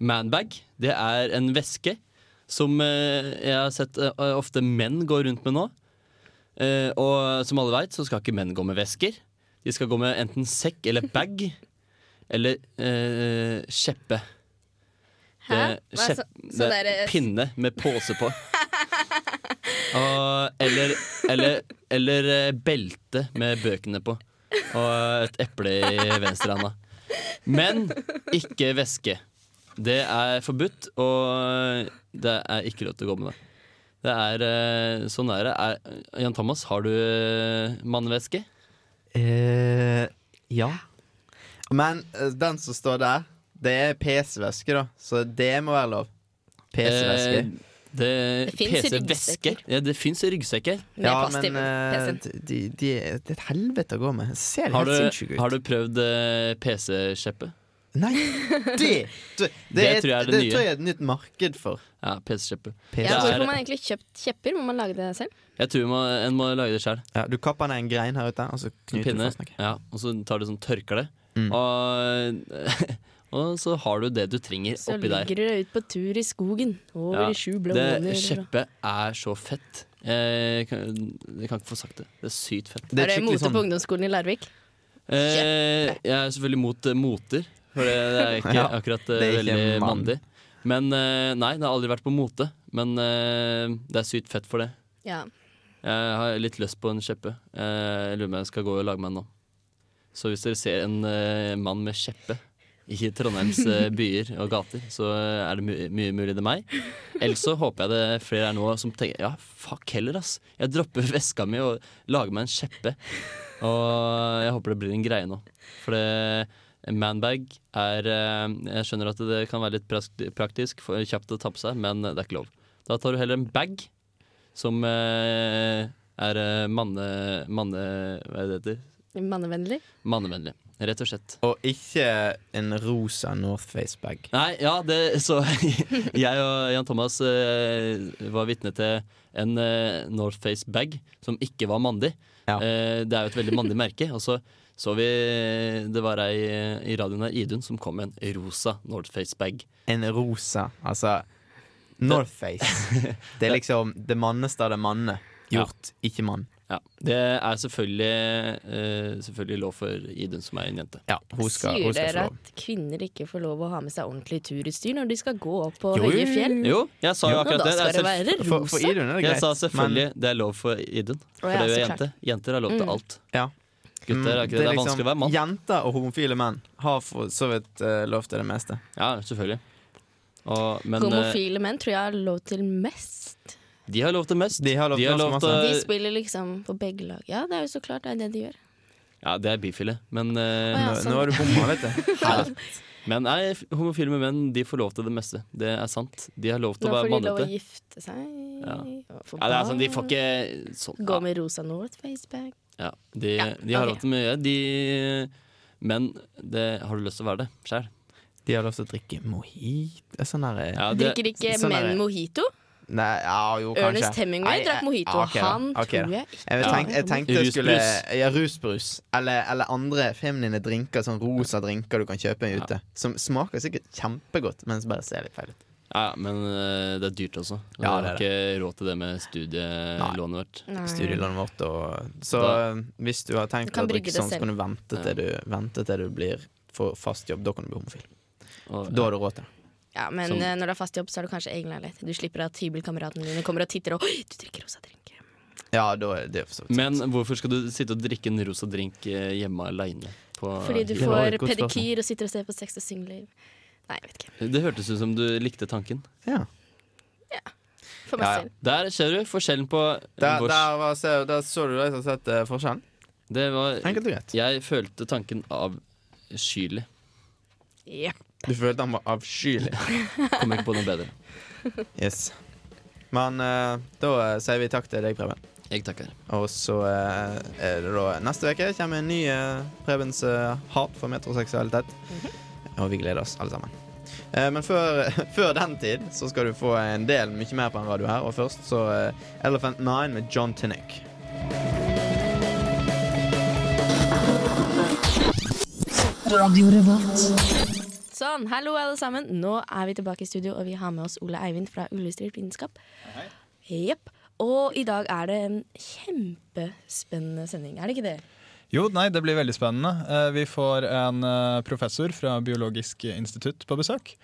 S2: manbag. Det er en veske som eh, jeg har sett eh, ofte menn går rundt med nå. Eh, og som alle veit, så skal ikke menn gå med vesker. De skal gå med enten sekk eller bag. Eller eh, skjeppe.
S1: Hæ?
S2: eh, Det-
S1: Hva er så-
S2: skjepp-
S1: sånn
S2: det er
S1: der-
S2: pinne med pose på. Og, eller, eller, eller eh, belte med bøkene på. Og et eple i venstrehanda. Men ikke væske. Det er forbudt, og det er ikke lov til å gå med det. Det er eh, sånn er det. Er, Jan Thomas, har du eh, mannevæske?
S4: Eh, ja. Men eh, den som står der, det er PC-væske, da. Så det må være lov. PC-væske.
S2: Eh, det
S1: Det finnes
S2: PC-væske.
S1: ryggsekker.
S2: Ja, det fins ryggsekker.
S1: Med plass til
S4: eh,
S1: PC-en.
S4: de, de er det er et helvete å gå med. Ser
S2: Har
S4: helt
S2: du,
S4: sinnssyke ut.
S2: har du prøvd eh, PC-skjeppet?
S4: Nei, det, det, det, er, tror jeg er det,
S2: nye.
S4: tror jeg er et nytt marked for.
S2: Ja, PC-skjeppet.
S1: ja,
S2: det
S1: hvorfor
S2: er-
S1: får man egentlig kjøpt kjepper? Må man lage det selv?
S2: Jeg tror man, en må lage det sjøl.
S4: Ja, du kapper ned en grein her ute, og så knyter du
S2: Pinne.
S4: fast noe.
S2: Ja, og så tar du sånn tørkle.
S4: Mm.
S2: Og, og så har du det du trenger
S1: Så
S2: oppi der.
S1: ligger dere ut på tur i skogen over
S2: Ja,
S1: i sju blå
S2: Det
S1: måneder.
S2: kjeppet er så fett. Jeg kan, jeg kan ikke få sagt det. Det er sånn- sykt fett.
S1: Er det
S4: skikkelig sånn-
S1: mote på ungdomsskolen i Larvik?
S2: Eh, jeg er selvfølgelig mot eh, moter, for det, det er ikke
S4: Ja,
S2: akkurat eh,
S4: det er ikke
S2: veldig
S4: mann.
S2: mandig. Men eh, nei, det har aldri vært på mote. Men eh, det er sykt fett for det.
S1: Ja.
S2: Jeg har litt lyst på en kjeppe. Eh, Jeg lurer på om jeg skal gå og lage meg en nå. Så hvis dere ser en eh, mann med kjeppe i Trondheims eh, byer og gater, så eh, er det mu- mye mulig det er meg. Ellers så håper jeg det er flere her nå som tenker ja, fuck heller, ass. Jeg dropper veska mi og lager meg en kjeppe. Og jeg håper det blir en greie nå. For det manbag er eh, Jeg skjønner at det kan være litt prakt- praktisk, for kjapt å ta på seg, men det er ikke lov. Da tar du heller en bag som eh, er eh, manne... manne hva er det det heter?
S1: Mannevennlig.
S2: Mannevennlig. Rett og slett.
S4: Og ikke en rosa Northface-bag.
S2: Nei, ja, det, så jeg og Jan Thomas eh, var vitne til en eh, Northface-bag som ikke var mandig. Eh, det er jo et veldig mandig merke. Og så så vi Det var ei eh, i radioen her, Idun, som kom med en rosa Northface-bag.
S4: En rosa, altså Northface. Det er liksom det manneste av det manne. Gjort, ikke mann.
S2: Ja, Det er selvfølgelig, eh, selvfølgelig lov for Idun, som er en jente.
S4: Ja,
S1: Sier dere at kvinner ikke får lov å ha med seg ordentlig turutstyr når de skal gå opp på
S2: Jo,
S1: høye fjell?
S2: Jo, jeg sa jo
S1: Og
S2: akkurat det.
S1: Da
S2: er
S1: skal det
S2: selv-
S1: være rosa.
S2: Jeg sa selvfølgelig det er lov for Idun. For
S1: ja,
S2: det er jo
S1: så
S2: jente.
S1: klart.
S2: Jenter har lov til
S1: Mm.
S2: alt.
S4: Ja. Mm,
S2: Gutter er ikke det. Det
S4: liksom-
S2: er vanskelig å være mann.
S4: Jenter og homofile menn har for så vidt eh, lov til det meste.
S2: Ja, selvfølgelig. Og, men eh,
S1: Homofile menn tror jeg har lov til mest.
S2: de har lov til mest. De
S4: har lov til ganske
S2: til
S1: De spiller liksom på begge lag. Ja, det er jo så klart det er det de gjør.
S2: Ja, det er bifile, men eh,
S1: Å ja, Nå- sånn. nå er du
S4: bomma, vet du.
S2: Men nei, f- homofile menn de får lov til det meste. Det er sant. De har lov til
S1: Nå får
S2: å være
S1: de lov å
S2: mannete.
S1: gifte seg.
S2: Ja.
S1: og få
S2: ja, det er sånn, de
S1: barn.
S2: får ikke sånn.
S1: Gå med rosa Northface-bag.
S2: Ja, de, de har
S1: ok.
S2: lov til mye, de Men det, har du lyst til å være det sjæl?
S4: De har lov til å drikke mojito. Sånn der, eh,
S1: Drikker ikke
S4: sånn der-
S1: menn mojito?
S4: Nei, ja, jo, kanskje.
S1: Ernest Hemingway
S4: Nei,
S1: drakk
S4: eh,
S2: ah,
S1: mojito,
S4: ja, ok da,
S1: han
S4: ok da.
S1: tror jeg ikke
S4: Jeg, tenk, jeg
S1: drakk
S4: tenkte jeg skulle
S2: Rusbrus.
S4: Ja, rusbrus. Eller, eller andre feminine drinker, sånn rosa drinker du kan kjøpe ute. Som smaker sikkert kjempegodt, men som bare ser litt feil ut.
S2: Ja, men eh, det er dyrt også. Vi
S4: Ja,
S2: har
S4: det er
S2: ikke råd til det med studielånet vårt.
S1: Nei.
S4: Studielånet vårt og Så
S2: Da-
S4: hvis du har tenkt
S1: Du kan
S4: å drikke
S1: brygge det
S4: sånn, så kan du vente til du, vente til du blir får fast jobb. Da kan du bli homofil. Da har du råd til det.
S1: Ja, men
S2: Sånn.
S4: Som-
S1: eh, når du har fast jobb, så har du kanskje egen leilighet. Du slipper at hybelkameratene dine kommer og titter og Oi, du drikker rosa drink.
S4: Ja, da er det for så vidt.
S2: eh, Men hvorfor skal du sitte og drikke en rosa drink eh, hjemme aleine?
S1: Fordi du får pedikyr og sitter og ser på Sex og Singelliv. Nei, jeg vet ikke.
S2: Det hørtes ut som du likte tanken.
S1: For meg selv.
S2: Der ser du forskjellen på
S4: Der,
S2: vår-
S4: der, var, så, der så du de som har sett eh, forskjellen.
S2: Det var
S4: Enkelt og greit.
S2: Jeg følte tanken avskyelig.
S1: Ja.
S4: Du følte han var avskyelig.
S2: Kom ikke på noe bedre.
S4: Yes. Men eh, da eh, sier vi takk til deg, Preben.
S2: Jeg takker.
S4: Og så eh, er det da neste uke kommer en ny eh, Prebens eh, hat for metroseksualitet.
S1: Mhm.
S4: Og vi gleder oss alle sammen. Eh, men før, før den tid så skal du få en del mye mer på en radio her. Og først så eh, Elephant Nine med John Tinnick.
S1: Sånn, hallo alle sammen. Nå er vi tilbake i studio, og vi har med oss Ole Eivind fra Ullestrid Vitenskap. Jepp. Og i dag er det en kjempespennende sending, er det ikke det?
S9: Jo, nei, det blir veldig spennende. Eh, Vi får en eh, professor fra Biologisk institutt på besøk.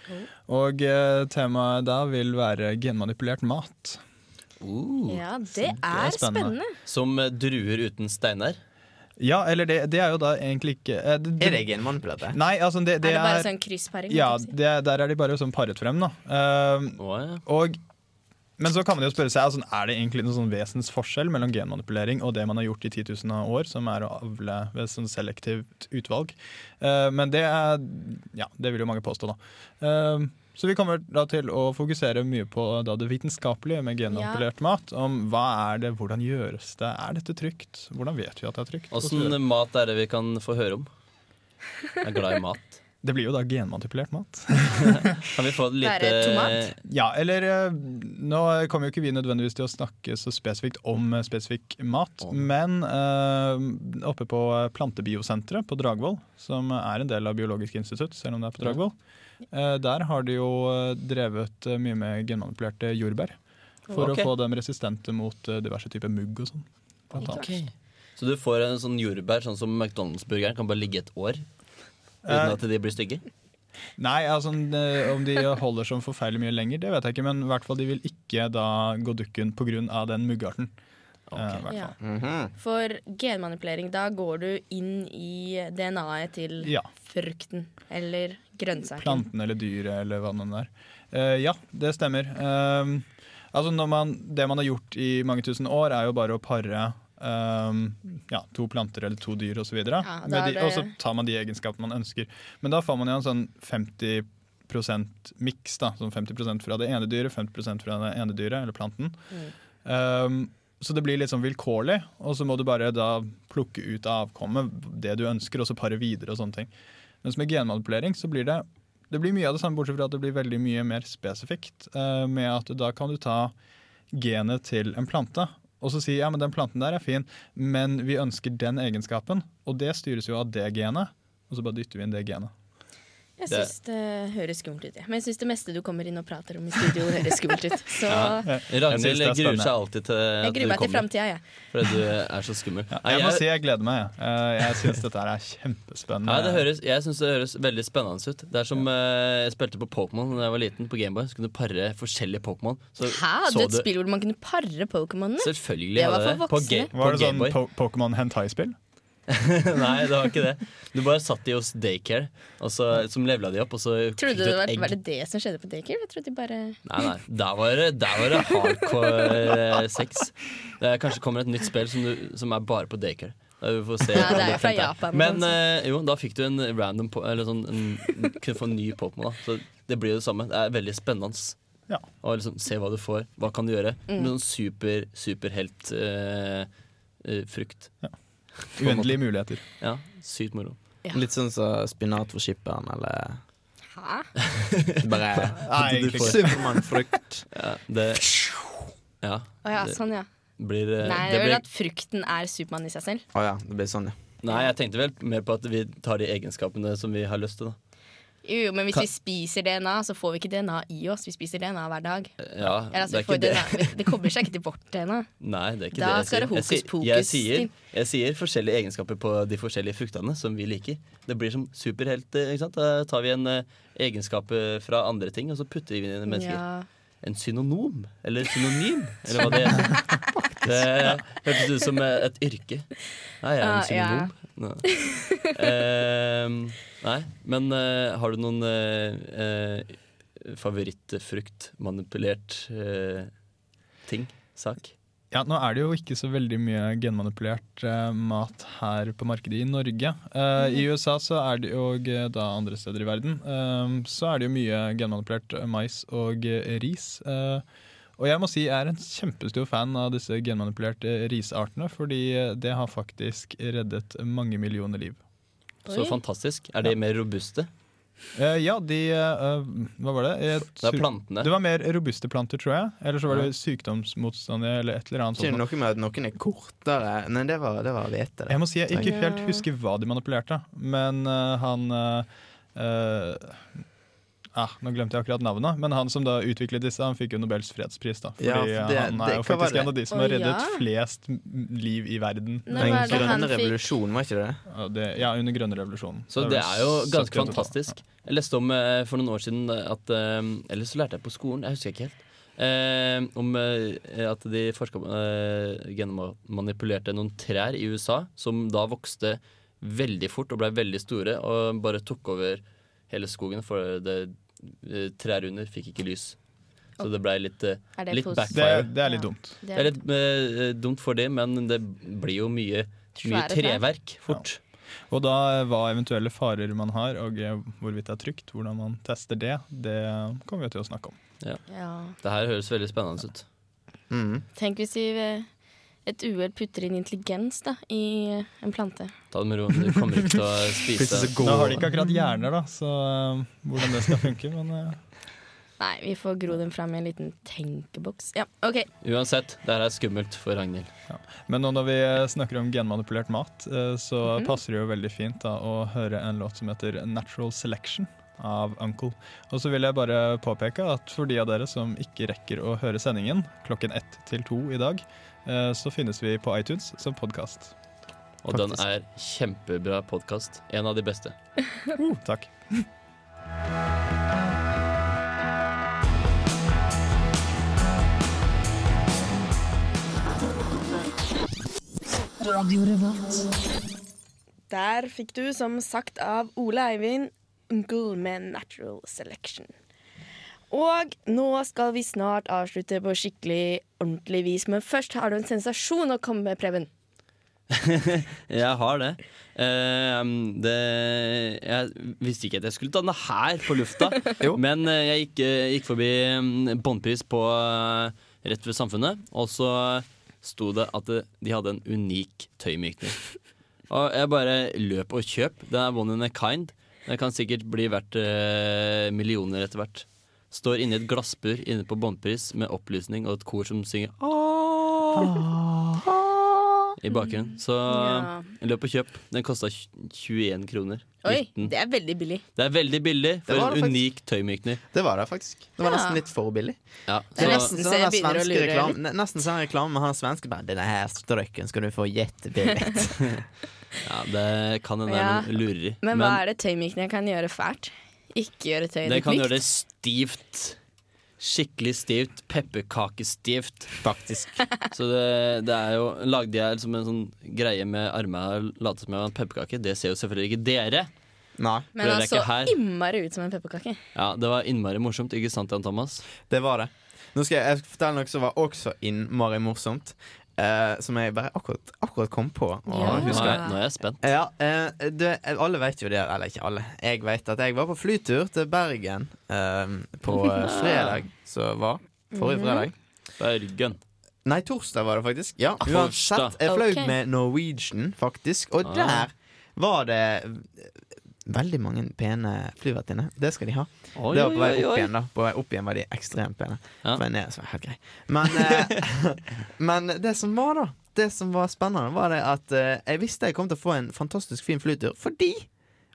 S9: Og eh, temaet da vil være genmanipulert mat. Oh,
S1: Ja, det er spennende.
S2: Som eh, druer uten steiner.
S9: Ja, eller det, det er jo da egentlig ikke eh, det,
S4: Er det genmanipulert? det?
S9: Nei, altså det, det
S1: er det bare sånn kryssparing?
S9: Ja,
S1: holdt jeg på å si?
S9: det, der er de bare sånn paret frem, da. Ehm, og, men så kan man jo spørre seg altså, er det egentlig noen sånn vesensforskjell mellom genmanipulering og det man har gjort i 10 000 av år, som er å avle ved sånn selektivt utvalg. Eh, men det er Ja, det vil jo mange påstå, da. Ehm, så vi kommer da til å fokusere mye på da det vitenskapelige med genmanipulert mat. Om hva er det, hvordan gjøres det, er dette trygt, hvordan vet vi at det er trygt? osv.
S2: Åssen mat er det vi kan få høre om? Jeg er glad i mat.
S9: Det blir jo da genmanipulert mat.
S2: Kan vi få et lite
S9: Ja, eller eh, Nå kommer jo ikke vi nødvendigvis til å snakke så spesifikt om eh, spesifikk mat, men eh, oppe på Plantebiosenteret på Dragvoll, som er en del av Biologisk institutt, selv om det er på Dragvoll, eh, der har de jo eh, drevet eh, mye med genmanipulerte jordbær. For
S2: Ok.
S9: å få dem resistente mot eh, diverse typer mugg og sånn. blant annet.
S2: Ok. Så du får en sånn jordbær sånn som McDonald's-burgeren kan bare ligge et år? Uten
S9: Eh.
S2: at de blir stygge?
S9: Nei, altså, eh, om de holder sånn forferdelig mye lenger, det vet jeg ikke. Men i hvert fall de vil ikke da gå dukken pga. den muggarten. Eh, i hvert
S1: Ja.
S9: fall.
S1: For genmanipulering, da går du inn i DNA-et til
S9: Ja.
S1: frukten eller grønnsaken.
S9: Planten eller dyret eller hva det nå er. Eh, ja, det stemmer. Eh, altså når man, det man har gjort i mange tusen år, er jo bare å pare eh, ja, to planter eller to dyr osv.
S1: Ja, da er det-
S9: Og så tar man de egenskapene man ønsker. Men da får man jo en sånn 50 miks, da, sånn 50 fra det ene dyret, 50 fra det ene dyret eller planten. Um,
S10: Ehm, så det blir litt sånn vilkårlig, og så må du bare da plukke ut av avkommet det du ønsker, og så pare videre og sånne ting. Mens med genmanipulering så blir det det blir mye av det samme, bortsett fra at det blir veldig mye mer spesifikt. eh, med at da kan du ta genet til en plante, og så si ja, men den planten der er fin, men vi ønsker den egenskapen, og det styres jo av det genet, og så bare dytter vi inn det genet.
S1: Jeg
S10: Det-
S1: syns det høres skummelt ut, jeg. Men jeg syns det meste du kommer inn og prater om i studio, høres skummelt ut. Så
S2: Ja.
S10: Jeg synes
S2: Ragnhild
S10: det er
S2: gruer seg
S10: spennende.
S2: alltid til
S1: jeg
S2: at du
S1: gruer meg til
S2: kommer.
S1: framtida, jeg.
S2: Fordi du er så skummel. Nei,
S10: Jeg må
S2: jeg-
S10: si jeg gleder meg. jeg. Eh, Jeg syns dette her er kjempespennende.
S2: Nei, det høres, jeg syns det høres veldig spennende ut. Det er som eh, jeg spilte på Pokémon da jeg var liten, på Gameboy. Så kunne du pare forskjellige Pokémon. Så
S1: Hæ? Hadde
S2: så
S1: du et spill hvor man kunne pare Pokémonene?
S2: Selvfølgelig
S1: Det var
S2: hadde jeg
S1: for
S2: det. På
S1: voksne.
S2: Ga-
S10: Var det sånn
S2: Gameboy.
S10: po Pokémon hentai-spill?
S2: Nei, det var ikke det. Du bare satt de hos daycare, og så, som levela de opp, og så
S1: Trodde du
S2: fikk du
S1: det
S2: et
S1: var,
S2: egg.
S1: var det det som skjedde på Daycare? Jeg trodde de bare
S2: Nei, nei. Der var det, der var det hardcore eh, sex. Det er, kanskje kommer et nytt spill som, du, som er bare på daycare. Da vi får se
S1: Ja, det er
S2: hvordan
S1: jo fra
S2: funker.
S1: Japan,
S2: Men
S1: altså.
S2: eh, jo, da fikk du en random po Eller sånn en, Kunne få en ny Pokémon. da. Så det blir jo det samme. Det er veldig spennende.
S10: Ja.
S2: Og liksom, se hva du får. Hva kan du gjøre?
S10: Mm.
S2: Med sånn super, superhelt eh, eh, frukt. På en måte.
S10: Uendelige muligheter.
S2: Ja, sykt moro.
S1: Ja.
S4: Litt sånn som spinat for skipperen, eller
S1: Hæ?
S4: Bare
S2: Nei,
S4: Du
S2: egentlig
S4: får
S2: ikke.
S4: Supermannfrukt.
S2: Ja, det Ja.
S1: Å ja,
S2: det
S1: sånn, ja.
S2: Blir, eh,
S1: Nei, det
S2: det
S1: er
S2: blir
S1: vel at frukten er Supermann i seg selv.
S4: Å ja, det blir sånn, ja.
S2: Nei, jeg tenkte vel mer på at vi tar de egenskapene som vi har lyst til. da
S1: Jo, jo, men hvis
S2: Ka-
S1: vi spiser DNA, så får vi ikke DNA i oss. Vi spiser DNA hver dag.
S2: Ja,
S1: Eller, altså,
S2: det er
S1: vi får
S2: ikke det.
S1: DNA, det kommer seg ikke til vårt DNA.
S2: Nei, det er ikke
S1: Da
S2: det jeg
S1: skal det
S2: sier. Jeg sier-
S1: hokus
S2: Jeg
S1: pokus
S2: sier,
S1: til.
S2: jeg sier forskjellige egenskaper på de forskjellige fruktene som vi liker. Det blir som superhelt. eh, ikke sant? Da tar vi en eh, egenskap eh, fra andre ting, og så putter vi den inn i mennesker.
S1: Ja.
S2: En synonom, eller synonym, eller hva det heter. Det hørtes ut som eh, et yrke. Nei, jeg er
S1: Ah,
S2: en synonom. Nei. Ehm, nei, men eh, har du noen eh, eh, favorittfruktmanipulert eh, ting? Sak?
S10: Ja, Nå er det jo ikke så veldig mye genmanipulert eh, mat her på markedet i Norge. Eh, I USA så er det jo, og eh, da andre steder i verden, eh, så er det jo mye genmanipulert eh, mais og eh, ris. Eh, og jeg må si jeg er en kjempestor fan av disse genmanipulerte risartene, fordi eh, det har faktisk reddet mange millioner liv.
S2: Så fantastisk. Er de mer robuste?
S10: Eh, ja, de eh, Hva var det? Jeg
S2: Det er
S10: tror-
S2: plantene.
S10: Det var mer robuste planter, tror jeg. Eller så var
S4: Ja.
S10: det sykdomsmotstandige eller et eller annet.
S4: Ikke
S10: sånt.
S4: noe med at noen er kortere Nei, det var, det var hvete. det.
S10: Jeg må si jeg ikke
S4: Ja.
S10: helt husker hva de manipulerte, men eh, han eh, eh, ah, Nå glemte jeg akkurat navnet, men han som da utviklet disse, han fikk jo Nobels fredspris. da Fordi
S4: Ja, for det-
S10: eh, han
S4: det-
S10: er jo
S4: hva var
S10: faktisk
S4: det?
S10: en av de som
S4: Å,
S10: har reddet
S4: ja.
S10: flest m- liv i verden.
S1: Nei, hva er det
S4: Den
S1: han
S4: grønne
S1: fikk?
S4: revolusjonen, var ikke det?
S10: Ja, det- Ja, under grønne revolusjonen.
S2: Så
S10: vel
S2: det er jo
S10: 70
S2: ganske
S10: og totalt.
S2: fantastisk. Jeg leste om eh, for noen år siden at eh, Eller så lærte jeg på skolen, jeg husker ikke helt. Eh, om eh, at de forska eh, genmanipulerte noen trær i USA som da vokste veldig fort og ble veldig store og bare tok over hele skogen, for det, eh, trær under fikk ikke lys. Så det ble litt, eh,
S10: Er det
S2: litt
S10: pos-
S2: backfire.
S10: Det- det er litt Ja. dumt.
S2: Det er litt eh, dumt for det, men det blir jo mye, mye
S10: Svære trær.
S2: treverk fort.
S10: Og da eh, hva eventuelle farer man har, og eh, hvorvidt det er trygt, hvordan man tester det, det kommer vi til å snakke om.
S2: Ja.
S1: Ja.
S2: Det her høres veldig spennende ut.
S4: Mm.
S1: Tenk hvis vi ved et uhell putter inn intelligens da, i eh, en plante.
S2: Ta det med ro. Du kommer ikke til å spise
S10: Nå har de ikke akkurat hjerner, da, så eh, hvordan det skal funke, men eh,
S1: Nei, vi får gro den fram i en liten tenkeboks. Ja, OK.
S2: Uansett, det her er skummelt for Ragnhild.
S10: Men nå når vi eh, snakker om genmanipulert mat, eh, så
S1: Mhm.
S10: passer det jo veldig fint da, å høre en låt som heter 'Natural Selection' av Uncle. Og så vil jeg bare påpeke at for de av dere som ikke rekker å høre sendingen klokken ett til to i dag, eh, så finnes vi på iTunes som podkast.
S2: Og den er kjempebra podkast. En av de beste.
S10: Takk.
S14: Radio Revolt.
S15: Der fikk du, som sagt av Ole Eivind, 'Uncle med Natural Selection'. Og nå skal vi snart avslutte på skikkelig ordentlig vis, men først har du en sensasjon å komme med, Preben.
S2: Jeg har det. Eh, det jeg visste ikke at jeg skulle ta den her på lufta, men eh, mm, jeg gikk, eh, gikk forbi eh, Båndpris på eh, rett ved Samfunnet, og så sto det at det, de hadde en unik tøymykning. Og jeg bare løp og kjøp. Den er one in a kind. Den kan sikkert bli verdt eh, millioner etter hvert. Står inni et glassbur inne på båndpris med opplysning og et kor som synger
S1: Ah.
S16: Åh.
S2: i bakgrunnen. Så
S16: Ja.
S2: løp og kjøp. Den kosta 21 kroner.
S1: Oi,
S2: 19.
S1: det er veldig billig.
S2: Det er veldig billig
S4: Det
S2: for
S4: var
S2: en
S4: det faktisk.
S2: unik tøymykner.
S4: Det var det faktisk. Det var
S1: Ja.
S4: nesten litt for billig.
S2: Ja,
S1: Det er nesten så jeg
S4: den
S1: begynner å
S4: svenske
S1: lure
S4: reklamen-
S1: litt.
S4: ne- Nesten sånn reklame med han svenske bare 'Denne her strøken skal du få jettebillig'.
S2: ja, det kan hende det
S1: Ja.
S2: er noe lureri.
S1: Men, hva er det tøymykning kan gjøre fælt? Ikke gjøre tøyet
S2: Det
S1: ditt
S2: kan gjøre
S1: mykt.
S2: det stivt. Skikkelig stivt. Pepperkakestivt.
S4: Faktisk.
S2: Så det, det er jo Lagde jeg liksom en sånn greie med armene og late som jeg var en pepperkake? Det ser jo selvfølgelig ikke dere.
S4: Nei.
S1: Men han så innmari ut som en pepperkake.
S2: Ja, Det var innmari morsomt, ikke sant, Jan Thomas?
S4: Det var det. Nå skal jeg, jeg skal fortelle noe som var også innmari morsomt. eh, som jeg bare akkurat, akkurat kom på. Og
S2: Ja.
S4: husker.
S2: Nå er- nå er jeg spent.
S4: Ja, eh, du, alle vet jo det, eller ikke alle. Jeg vet at jeg var på flytur til Bergen eh, på eh, fredag, som var forrige
S2: Mhm.
S4: fredag.
S2: Bergen.
S4: Nei, torsdag var det faktisk. Ja,
S2: Torsdag.
S4: uansett. Jeg fløy
S2: Ok.
S4: med Norwegian, faktisk, og
S2: Ah.
S4: der var det eh, veldig mange pene flyvertinner. Det skal de ha.
S2: Oi,
S4: det var på
S2: oi,
S4: vei
S2: oi,
S4: opp
S2: oi.
S4: igjen, da. På vei opp igjen var de ekstremt pene.
S2: Ja.
S4: Men, det var helt grei. men, eh, men det som var, da Det som var spennende, var det at eh, jeg visste jeg kom til å få en fantastisk fin flytur fordi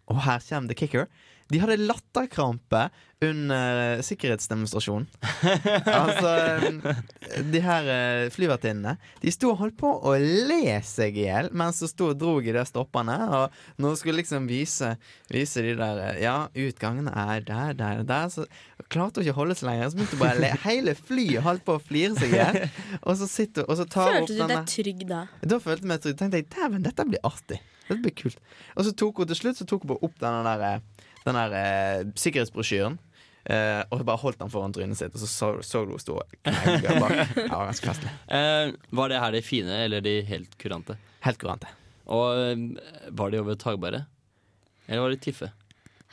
S4: Og her kommer the kicker. De hadde latterkrampe under eh, sikkerhetsdemonstrasjonen. altså, eh, de her eh, flyvertinnene De sto og holdt på å le seg i hjel mens de sto og dro i de stoppene. Og når de skulle liksom vise, vise de der eh, Ja, utgangen er der, der, der. Så klarte hun ikke å holde seg lenger. Så begynte hun bare å le. Hele flyet holdt på å flire seg i hjel. Og så sitter hun og så tar hun opp
S1: Følte du
S4: denne
S1: deg trygg da?
S4: da følte jeg meg trygg. Tenkte jeg, dæven, dette blir artig. Dette blir kult. Og så tok hun til slutt Så tok hun bare opp den der, den der eh, sikkerhetsbrosjyren. eh, og bare holdt den foran trynet sitt, og så så, så du hun stå og knegge bak. Det var ganske festlig.
S2: Eh, var det her de fine, eller de helt kurante?
S4: Helt kurante.
S2: Og eh, var de overtagbare? Eller var de tiffe?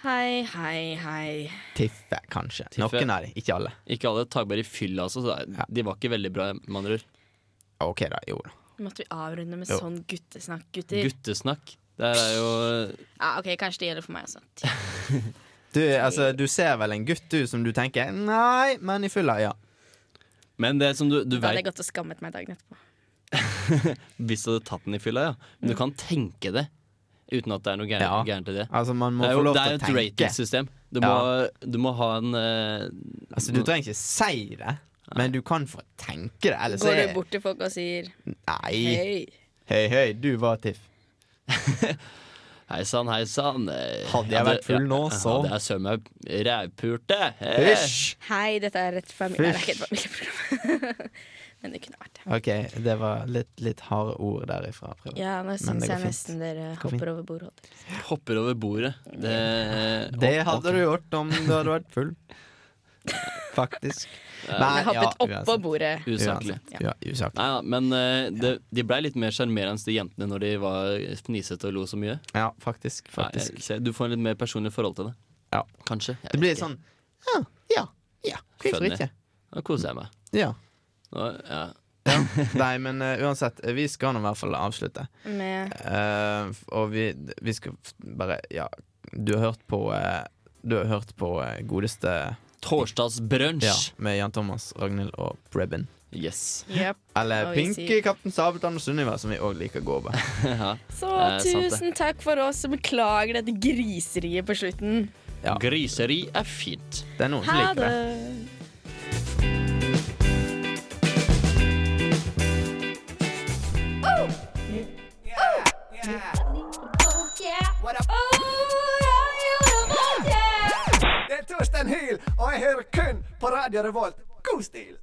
S1: Hei, hei, hei.
S4: Tiffe, kanskje.
S2: Tiffe.
S4: Noen av de, ikke alle.
S2: Ikke alle tagbare i fyll, altså. Så det er- de var ikke veldig bra, med andre ord.
S4: Ok, da. Jo da.
S1: Måtte vi avrunde med
S2: Jo.
S1: sånn guttesnakk, gutter?
S2: Guttesnakk. Det er jo
S1: Ja, ok, Kanskje det gjelder for meg også.
S4: Du, altså, du ser vel en gutt, du, som du tenker Nei, men i fylla, ja.
S2: Men det som du, du
S1: Da hadde jeg
S2: veit
S1: gått og skammet meg dagen etterpå.
S2: Hvis du hadde tatt den i fylla, ja.
S4: Mm.
S2: Men du kan tenke det. Uten at det er noe gærent, gærent i det.
S4: Altså, man må
S2: det er
S4: få lov
S2: det
S4: til
S2: er
S4: å
S2: et
S4: tenke.
S2: ratingsystem. Du,
S4: Ja.
S2: må- du må ha en eh,
S4: Altså, du trenger ikke si det, men du kan få tenke det. Ellers
S1: Går
S4: er
S1: du bort til folk og sier
S4: Nei.
S1: hei?
S4: Hei, hei, du var Tiff.
S2: Hei sann, hei sann. Eh,
S4: Hadde jeg vært full nå, så.
S2: Hadde jeg søren meg rævpulte. Eh.
S4: Hysj!
S1: Hei, dette er et familie... Nei, det er ikke et familieprogram. Men det kunne vært det.
S4: Ok, det var litt, litt harde ord derifra. prøver.
S1: Ja, nå
S4: Men
S1: syns
S4: det går
S1: jeg
S4: fint.
S1: nesten dere
S4: går fint.
S1: hopper over bordet.
S2: Hopper over bordet. Det, eh,
S4: Det hadde du gjort om du hadde vært full. Faktisk.
S2: Ja.
S1: Jeg hoppet oppå bordet.
S2: Usaklig.
S1: Ja.
S4: Ja, usaklig.
S2: Nei, ja, men eh, det, de blei litt mer sjarmerende, de jentene, når de var fnisete og lo så mye.
S4: Ja, faktisk. faktisk.
S2: Nei, jeg ser- du får en litt mer personlig forhold til det.
S4: Ja.
S2: Kanskje. jeg
S4: Det
S2: vet
S4: blir
S2: ikke.
S4: sånn Ja, ja, ja. Hvorfor
S2: Funny.
S4: ikke?
S2: Nå koser jeg meg.
S4: Ja.
S2: Nå, ja.
S4: Nei, men eh, uansett, vi skal nå i hvert fall avslutte.
S1: Med
S4: Eh, f- og vi, vi skal f- bare Ja, du har hørt på eh, Du har hørt på eh, godeste
S2: Torsdagsbrunsj.
S4: Ja, med Jan Thomas, Ragnhild og Preben.
S2: Yes.
S1: Yep.
S4: Eller
S1: Og vi
S4: Pinky, Kaptein Sabeltann og Sunniva, som vi òg liker å gå over.
S1: Så
S4: Eh,
S1: tusen takk for oss, og beklager dette griseriet på slutten.
S2: Griseri er fint.
S4: Det er noen
S1: Ha det!
S17: Det er Torstein Hyl, og jeg hører kun på Radio Revolt. God stil!